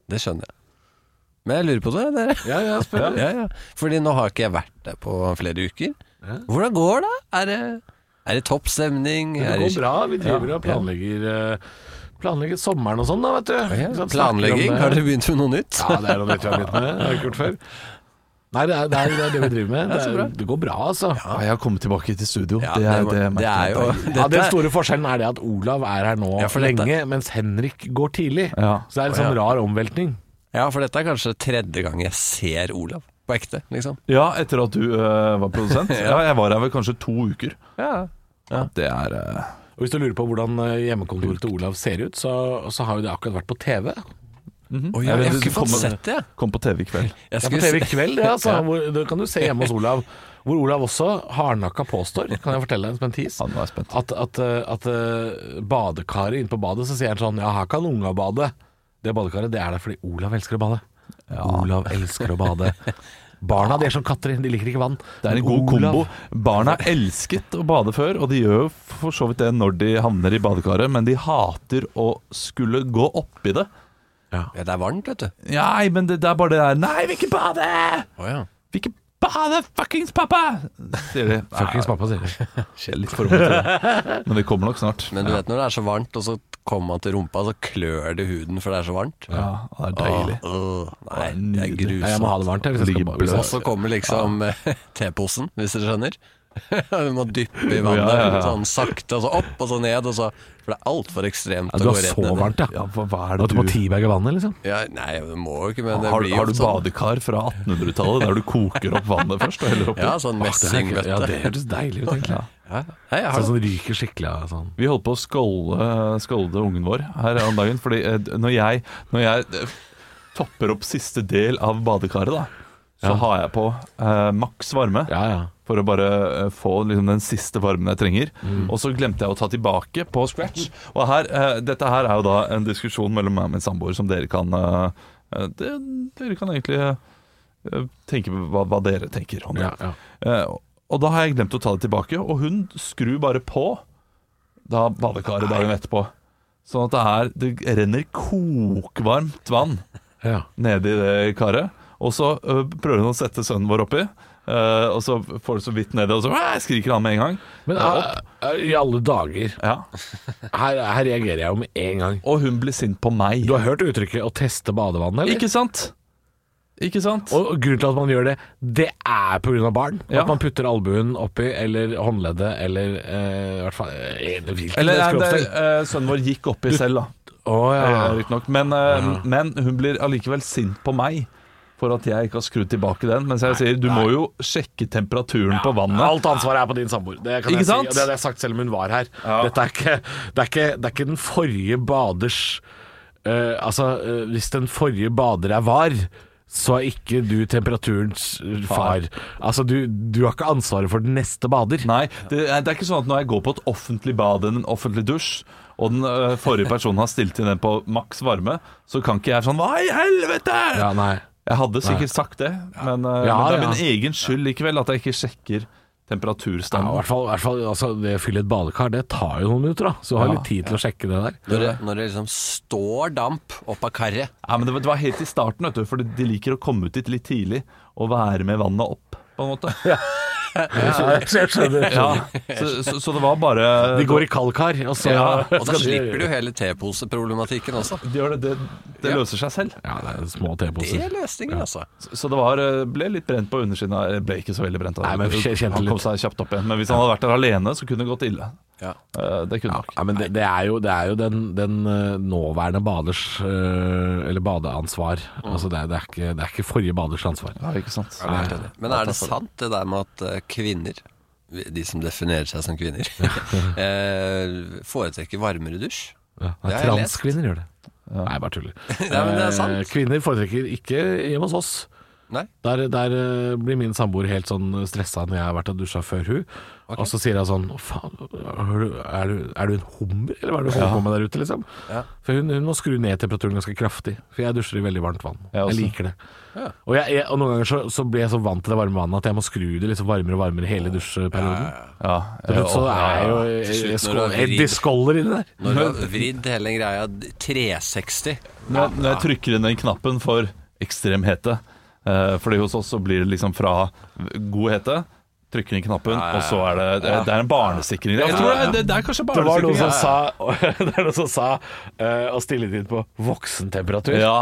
[SPEAKER 14] Det skjønner jeg. Men jeg lurer på det, dere.
[SPEAKER 3] Ja, ja, spør.
[SPEAKER 14] ja, ja. Fordi nå har ikke jeg vært der på flere uker. Hvordan går det? Er det, er det topp stemning?
[SPEAKER 3] Men
[SPEAKER 14] Er
[SPEAKER 3] Det går bra. Vi driver
[SPEAKER 14] Ja,
[SPEAKER 3] og planlegger, eh, planlegger sommeren og sånn, da, vet du. Ikke sant?
[SPEAKER 14] Planlegging?
[SPEAKER 3] Snakker om det.
[SPEAKER 14] Har dere begynt med noe nytt?
[SPEAKER 3] Ja, det er noe nytt vi har begynt med. Det har vi ikke gjort før. Nei, det er det, er, det, er det vi driver med.
[SPEAKER 4] Ja,
[SPEAKER 3] Det,
[SPEAKER 4] så
[SPEAKER 3] er,
[SPEAKER 4] bra.
[SPEAKER 3] det går bra, altså.
[SPEAKER 4] Ja, jeg har kommet tilbake til studio.
[SPEAKER 3] Ja,
[SPEAKER 4] det
[SPEAKER 3] det
[SPEAKER 4] er,
[SPEAKER 3] var-
[SPEAKER 4] det
[SPEAKER 3] det
[SPEAKER 4] merker
[SPEAKER 14] er
[SPEAKER 4] jeg
[SPEAKER 14] jo-
[SPEAKER 4] deilig.
[SPEAKER 14] det-
[SPEAKER 3] Ja, Den
[SPEAKER 14] Dette-
[SPEAKER 3] store forskjellen er det at Olav er her nå
[SPEAKER 14] Ja, for dette-
[SPEAKER 3] lenge, mens Henrik går tidlig.
[SPEAKER 4] Ja.
[SPEAKER 3] Så det er en sånn
[SPEAKER 14] Å, ja.
[SPEAKER 3] rar omveltning.
[SPEAKER 14] Ja, for dette er kanskje tredje gang jeg ser Olav på ekte, liksom.
[SPEAKER 4] Ja, etter at du eh, var produsent.
[SPEAKER 14] Ja.
[SPEAKER 4] ja. jeg var her vel kanskje to uker.
[SPEAKER 14] Ja.
[SPEAKER 4] Det er eh,
[SPEAKER 3] Og Hvis du lurer på hvordan eh, hjemmekontoret til Olav ser ut, så, så har jo det akkurat vært på TV. Mhm.
[SPEAKER 14] Å, ja, jeg har ikke fått sett det.
[SPEAKER 4] Kom på TV i kveld.
[SPEAKER 14] Jeg
[SPEAKER 3] Det er på
[SPEAKER 14] skulle
[SPEAKER 3] TV i
[SPEAKER 14] se-
[SPEAKER 3] kveld, det, altså.
[SPEAKER 14] Ja.
[SPEAKER 3] Hvor, det kan du se hjemme hos Olav. Hvor Olav også hardnakka påstår, kan jeg fortelle deg som en tis, at, at, eh, at eh, badekaret inne på badet, så sier han sånn Ja, her kan unga bade. Det badekaret, det er der fordi Olav elsker å bade. Olav elsker å bade. Barna de er som katter, de liker ikke vann.
[SPEAKER 4] Det er en god kombo. Barna elsket å bade før, og de gjør jo for så vidt det når de havner i badekaret, men de hater å skulle gå oppi det.
[SPEAKER 14] Ja, det er varmt, vet du.
[SPEAKER 4] Nei, men det, det er bare det der Nei, vi ikke bade!
[SPEAKER 14] Å ja.
[SPEAKER 4] Vi ikke bade, fuckings pappa! Sier de.
[SPEAKER 3] Fuckings pappa, sier de.
[SPEAKER 4] Skjer litt for ung til det. Men det kommer nok snart.
[SPEAKER 14] Men du vet når det er så varmt, og så kommer man til rumpa, så klør det huden for det er så varmt.
[SPEAKER 4] Ja, det er deilig.
[SPEAKER 14] Åh, åh, nei, det er
[SPEAKER 4] Nydelig.
[SPEAKER 14] grusomt.
[SPEAKER 3] Nei, jeg må ha det varmt. jeg, Hvis jeg skal bade.
[SPEAKER 14] Og så kommer liksom eh, teposen, hvis dere skjønner. Du må dyppe i vannet,
[SPEAKER 4] Ja, ja, ja.
[SPEAKER 14] sånn sakte, og så opp, og så ned, og så For det er altfor ekstremt
[SPEAKER 3] Ja, du har så
[SPEAKER 14] ned.
[SPEAKER 3] varmt, ja.
[SPEAKER 4] Ja, hva, hva er
[SPEAKER 3] At
[SPEAKER 4] det
[SPEAKER 3] du
[SPEAKER 4] du
[SPEAKER 3] må tiberge vannet, liksom.
[SPEAKER 14] Ja, nei, det må jo ikke, men det
[SPEAKER 4] har,
[SPEAKER 14] blir jo
[SPEAKER 4] har du
[SPEAKER 14] sånn.
[SPEAKER 4] badekar fra 1800-tallet der du koker opp vannet først og heller oppi?
[SPEAKER 14] Ja, sånn messingbøtte.
[SPEAKER 3] Ja, det høres deilig ut, egentlig.
[SPEAKER 14] Ja. Nei, jeg har
[SPEAKER 3] Sånn som ryker skikkelig av sånn.
[SPEAKER 4] Vi holdt på å skålde, skålde ungen vår her om dagen. Fordi eh, når jeg, når jeg eh, topper opp siste del av badekaret, da, så
[SPEAKER 3] Ja.
[SPEAKER 4] har jeg på eh, maks varme.
[SPEAKER 3] Ja, ja.
[SPEAKER 4] For å bare eh, få liksom, den siste varmen jeg trenger.
[SPEAKER 14] Mm.
[SPEAKER 4] Og så glemte jeg å ta tilbake på scratch. Og her, eh, dette her er jo da en diskusjon mellom meg og min samboer som dere kan eh, eh, det, Dere kan egentlig eh, tenke på hva, hva dere tenker om det.
[SPEAKER 3] Ja, ja.
[SPEAKER 4] Eh, og da har jeg glemt å ta det tilbake, og hun skrur bare på da badekaret dagen etterpå. Sånn at det, er, det renner kokvarmt vann
[SPEAKER 3] Ja.
[SPEAKER 4] nedi det karet. Og så ø, prøver hun å sette sønnen vår oppi, eh, og så får det så vidt nedi, og så «Æ», skriker han med en gang.
[SPEAKER 3] Men
[SPEAKER 4] Ja,
[SPEAKER 3] eh, eh, i alle dager
[SPEAKER 4] Ja.
[SPEAKER 3] her, her reagerer jeg jo med en gang.
[SPEAKER 4] Og hun blir sint på meg.
[SPEAKER 3] Du har hørt uttrykket 'å teste badevannet'? eller?
[SPEAKER 4] Ikke sant? Ikke sant?
[SPEAKER 3] Og og grunnen til at man gjør det, det er pga. barn.
[SPEAKER 4] Ja.
[SPEAKER 3] At man putter albuen oppi, eller håndleddet, eller eh, i hvert fall eh, hvilken
[SPEAKER 4] Eller eh, det,
[SPEAKER 3] kroppsdel.
[SPEAKER 4] eh, sønnen vår gikk oppi selv, da.
[SPEAKER 3] Å ja.
[SPEAKER 4] Eh, Riktignok. Men, eh, men hun blir allikevel sint på meg. For at jeg ikke har skrudd tilbake den. Mens jeg sier du må jo sjekke temperaturen på vannet.
[SPEAKER 3] Alt ansvaret er på din samboer. Det kan
[SPEAKER 4] Ikke
[SPEAKER 3] jeg si,
[SPEAKER 4] sant?
[SPEAKER 3] og det hadde jeg sagt selv om hun var her.
[SPEAKER 4] Ja.
[SPEAKER 3] Dette er ikke, det, er ikke, det er ikke den forrige baders eh, Altså, eh, hvis den forrige bader er var så er ikke du temperaturens eh, far. Altså, du, du har ikke ansvaret for den neste bader.
[SPEAKER 4] Nei, det er, det er ikke sånn at når jeg går på et offentlig bad eller en offentlig dusj, og den ø, forrige personen har stilt inn den på maks varme, så kan ikke jeg sånn Hva i helvete?!
[SPEAKER 3] Ja, nei.
[SPEAKER 4] Jeg hadde sikkert sagt det, men, ø,
[SPEAKER 3] Ja,
[SPEAKER 4] men det er
[SPEAKER 3] ja.
[SPEAKER 4] min egen skyld likevel at jeg ikke sjekker temperaturstanden.
[SPEAKER 3] Ja, i hvert fall, i hvert fall altså, det å fylle et badekar, det tar jo noen minutter, da. Så du har
[SPEAKER 4] Ja,
[SPEAKER 3] litt tid til å sjekke det der.
[SPEAKER 14] Når det, når det liksom står damp opp av karret
[SPEAKER 4] Ja, men det var, det var helt i starten, vet du, for de liker å komme ut dit litt tidlig og være med vannet opp, på en måte. Ja,
[SPEAKER 3] jeg skjønner, jeg skjønner.
[SPEAKER 4] Ja, så, så, så det var bare
[SPEAKER 3] De går i kaldkar, og så
[SPEAKER 4] Ja,
[SPEAKER 14] Og da slipper du hele teposeproblematikken også.
[SPEAKER 4] De gjør det, det, det løser seg selv.
[SPEAKER 3] Ja, det er små teposer.
[SPEAKER 14] Det er løsninger, altså.
[SPEAKER 4] Så, så det var, eh, ble litt brent på undersiden. av- eh, Ble ikke så veldig brent.
[SPEAKER 3] Nei, men kj- kjente
[SPEAKER 4] han kom
[SPEAKER 3] litt.
[SPEAKER 4] seg kjapt opp igjen. Men hvis han hadde vært der alene, så kunne det gått ille. Eh, Det kunne nok.
[SPEAKER 3] Ja, men det, det, er jo, det er jo den, den eh, nåværende baders eh, Eller badeansvar. Altså det, er- det, er ikke, det er ikke forrige baders ansvar.
[SPEAKER 4] Ja, ikke sant.
[SPEAKER 14] Ja, det er helt enig. Men er det sant det der med at eh, kvinner, de som definerer seg som kvinner, eh, foretrekker varmere dusj?
[SPEAKER 3] Ja,
[SPEAKER 14] Det har jeg lest.
[SPEAKER 3] Transkvinner gjør det. Nei, bare tuller.
[SPEAKER 14] Nei, men det er sant.
[SPEAKER 3] Eh, Kvinner foretrekker ikke hjemme hos oss.
[SPEAKER 14] Nei.
[SPEAKER 3] Der, der eh, blir min samboer helt sånn stressa når jeg har vært og dusja før hun. Og så sier hun sånn «Å, Faen, er du, er, du, er du en hummer, eller hva er det du holder
[SPEAKER 4] Ja.
[SPEAKER 3] på med der ute, liksom?
[SPEAKER 4] Ja.
[SPEAKER 3] For hun, hun må skru ned temperaturen ganske kraftig. For jeg dusjer i veldig varmt vann.
[SPEAKER 4] Jeg
[SPEAKER 3] Jeg,
[SPEAKER 4] også.
[SPEAKER 3] liker det. Og, jeg, jeg, og noen ganger så, så blir jeg så vant til det varme vannet at jeg må skru det liksom varmere og varmere hele dusjperioden.
[SPEAKER 4] Ja, eh,
[SPEAKER 3] Til slutt så er jeg jo
[SPEAKER 14] Til slutt
[SPEAKER 3] jeg,
[SPEAKER 14] når du har
[SPEAKER 3] skål- jeg,
[SPEAKER 14] vridd-
[SPEAKER 3] skåler i det der.
[SPEAKER 14] Når du har vridd hele den greia 360
[SPEAKER 4] Når jeg, når jeg trykker inn den knappen for ekstrem hete eh, Fordi hos oss så blir det liksom fra god hete Trykker inn knappen, og så er det Det, det er en barnesikring. Jeg tror det, er- det, det er kanskje
[SPEAKER 3] Det var
[SPEAKER 4] barnesikring.
[SPEAKER 3] noen som sa, det er noen som sa eh, å stille tid på voksentemperatur.
[SPEAKER 4] Ja.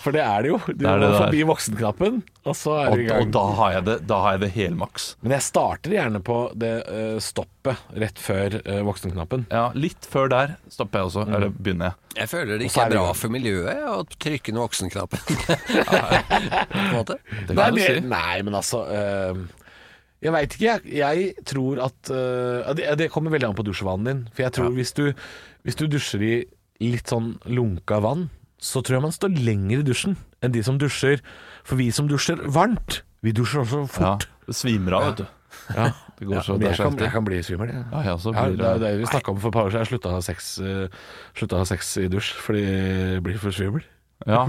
[SPEAKER 3] For det er det jo. Du
[SPEAKER 4] Det er det
[SPEAKER 3] går
[SPEAKER 4] det er.
[SPEAKER 3] forbi voksenknappen, og så er
[SPEAKER 4] Og,
[SPEAKER 3] du i gang.
[SPEAKER 4] og da har jeg det, da har jeg det helmaks.
[SPEAKER 3] Men jeg starter gjerne på det eh, stoppet rett før eh, voksenknappen.
[SPEAKER 4] Ja, litt før der stopper jeg også.
[SPEAKER 3] Mm.
[SPEAKER 4] Eller begynner jeg.
[SPEAKER 14] Jeg føler det
[SPEAKER 3] Og
[SPEAKER 14] ikke
[SPEAKER 3] så er
[SPEAKER 14] er
[SPEAKER 3] vi i
[SPEAKER 14] bra
[SPEAKER 3] gang.
[SPEAKER 14] for miljøet ja, å trykke ned voksenknappen. På en måte.
[SPEAKER 3] Nei, det- nei, men altså eh, Jeg veit ikke. Jeg, jeg tror at eh, det, det kommer veldig an på dusjvanen din. For jeg tror hvis, du, hvis du dusjer i litt sånn lunka vann, så tror jeg man står lenger i dusjen enn de som dusjer. For vi som dusjer varmt, vi dusjer også fort.
[SPEAKER 4] Det svimer av, vet du.
[SPEAKER 3] Ja.
[SPEAKER 4] Det går
[SPEAKER 3] Ja,
[SPEAKER 4] så
[SPEAKER 3] men
[SPEAKER 4] det er
[SPEAKER 3] jeg,
[SPEAKER 4] så
[SPEAKER 3] kan,
[SPEAKER 4] heftig.
[SPEAKER 3] jeg kan bli svimmel, jeg.
[SPEAKER 4] Ja, jeg også
[SPEAKER 3] Ja,
[SPEAKER 4] blir
[SPEAKER 3] det er jo det vi snakka om for et par år siden. Jeg slutta å ha sex, eh, slutta å ha sex i dusj fordi jeg blir for svimmel.
[SPEAKER 4] Ja.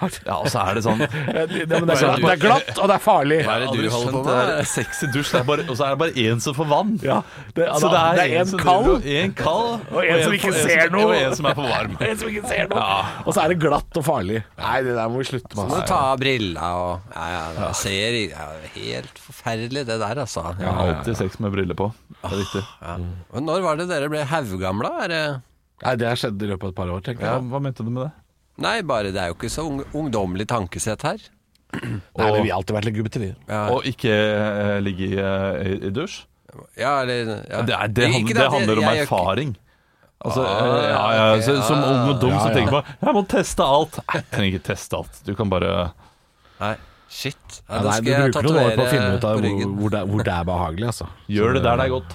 [SPEAKER 4] Ja, og så er det sånn
[SPEAKER 3] Ja, det- men det er glatt- Altså, det er glatt, og det er farlig.
[SPEAKER 4] Hva er det du holder på med? Det er sexy dusj, det er bare, og så er det bare én som får vann.
[SPEAKER 3] Ja, det,
[SPEAKER 4] så det er,
[SPEAKER 3] en
[SPEAKER 4] som
[SPEAKER 3] kald,
[SPEAKER 4] driver og- en kald
[SPEAKER 3] og en som ikke ser noe.
[SPEAKER 4] Og en som er for varm.
[SPEAKER 3] En som ikke ser noe. Og så er det glatt og farlig. Nei, det der må vi slutte
[SPEAKER 14] Så
[SPEAKER 3] med.
[SPEAKER 14] må du
[SPEAKER 3] ass.
[SPEAKER 14] ta av brilla og ja, ja, det ser ja, det er Helt forferdelig, det der, altså.
[SPEAKER 4] Jeg har alltid sex med briller på. Det er riktig.
[SPEAKER 14] Men når var det dere ble haugamla? Er det
[SPEAKER 3] Nei, det har skjedd i løpet av et par år, tenker jeg.
[SPEAKER 4] Ja, hva mente du med det?
[SPEAKER 14] Nei, bare det er jo ikke så ung, ungdommelig tankesett her.
[SPEAKER 3] Nei, men vi har alltid vært litt gubbete, vi.
[SPEAKER 14] Ja.
[SPEAKER 4] Og ikke eh, ligge i, eh, i, i dusj?
[SPEAKER 14] Ja, eller ja.
[SPEAKER 4] Det, er, det,
[SPEAKER 14] Ikke
[SPEAKER 4] handler, det handler om
[SPEAKER 14] jeg gjør ikke-
[SPEAKER 4] erfaring. Altså,
[SPEAKER 14] Ah,
[SPEAKER 4] eh, ja, ja, så,
[SPEAKER 14] ok,
[SPEAKER 4] som
[SPEAKER 14] ja,
[SPEAKER 4] ung og dum
[SPEAKER 3] ja,
[SPEAKER 4] som
[SPEAKER 3] ja.
[SPEAKER 4] tenker på 'jeg må teste alt'. Nei, jeg trenger ikke teste alt. Du kan bare
[SPEAKER 14] Nei, shit. Ja,
[SPEAKER 3] Ja,
[SPEAKER 14] da
[SPEAKER 3] nei,
[SPEAKER 14] skal
[SPEAKER 3] du
[SPEAKER 14] jeg
[SPEAKER 3] bruker noen år på å finne
[SPEAKER 14] tatovere
[SPEAKER 3] ut av
[SPEAKER 14] på
[SPEAKER 3] hvor,
[SPEAKER 14] ryggen.
[SPEAKER 3] hvor, det, hvor det er behagelig, altså.
[SPEAKER 4] gjøre det der det er godt.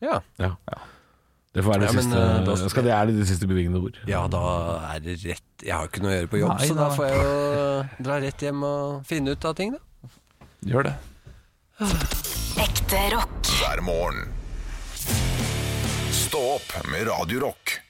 [SPEAKER 14] Ja.
[SPEAKER 3] Ja. Det får være det
[SPEAKER 14] Ja, men,
[SPEAKER 3] siste
[SPEAKER 14] eh, da-
[SPEAKER 3] Skal det er det de siste bevingende ord.
[SPEAKER 14] ja, da er det rett Jeg har jo ikke noe å gjøre på jobb,
[SPEAKER 4] Nei,
[SPEAKER 14] så da
[SPEAKER 4] nei.
[SPEAKER 14] får jeg jo dra rett hjem og finne ut av ting, da.
[SPEAKER 4] Gjør det.
[SPEAKER 2] Ekte rock.
[SPEAKER 1] hver morgen. Stå opp med Radio Rock.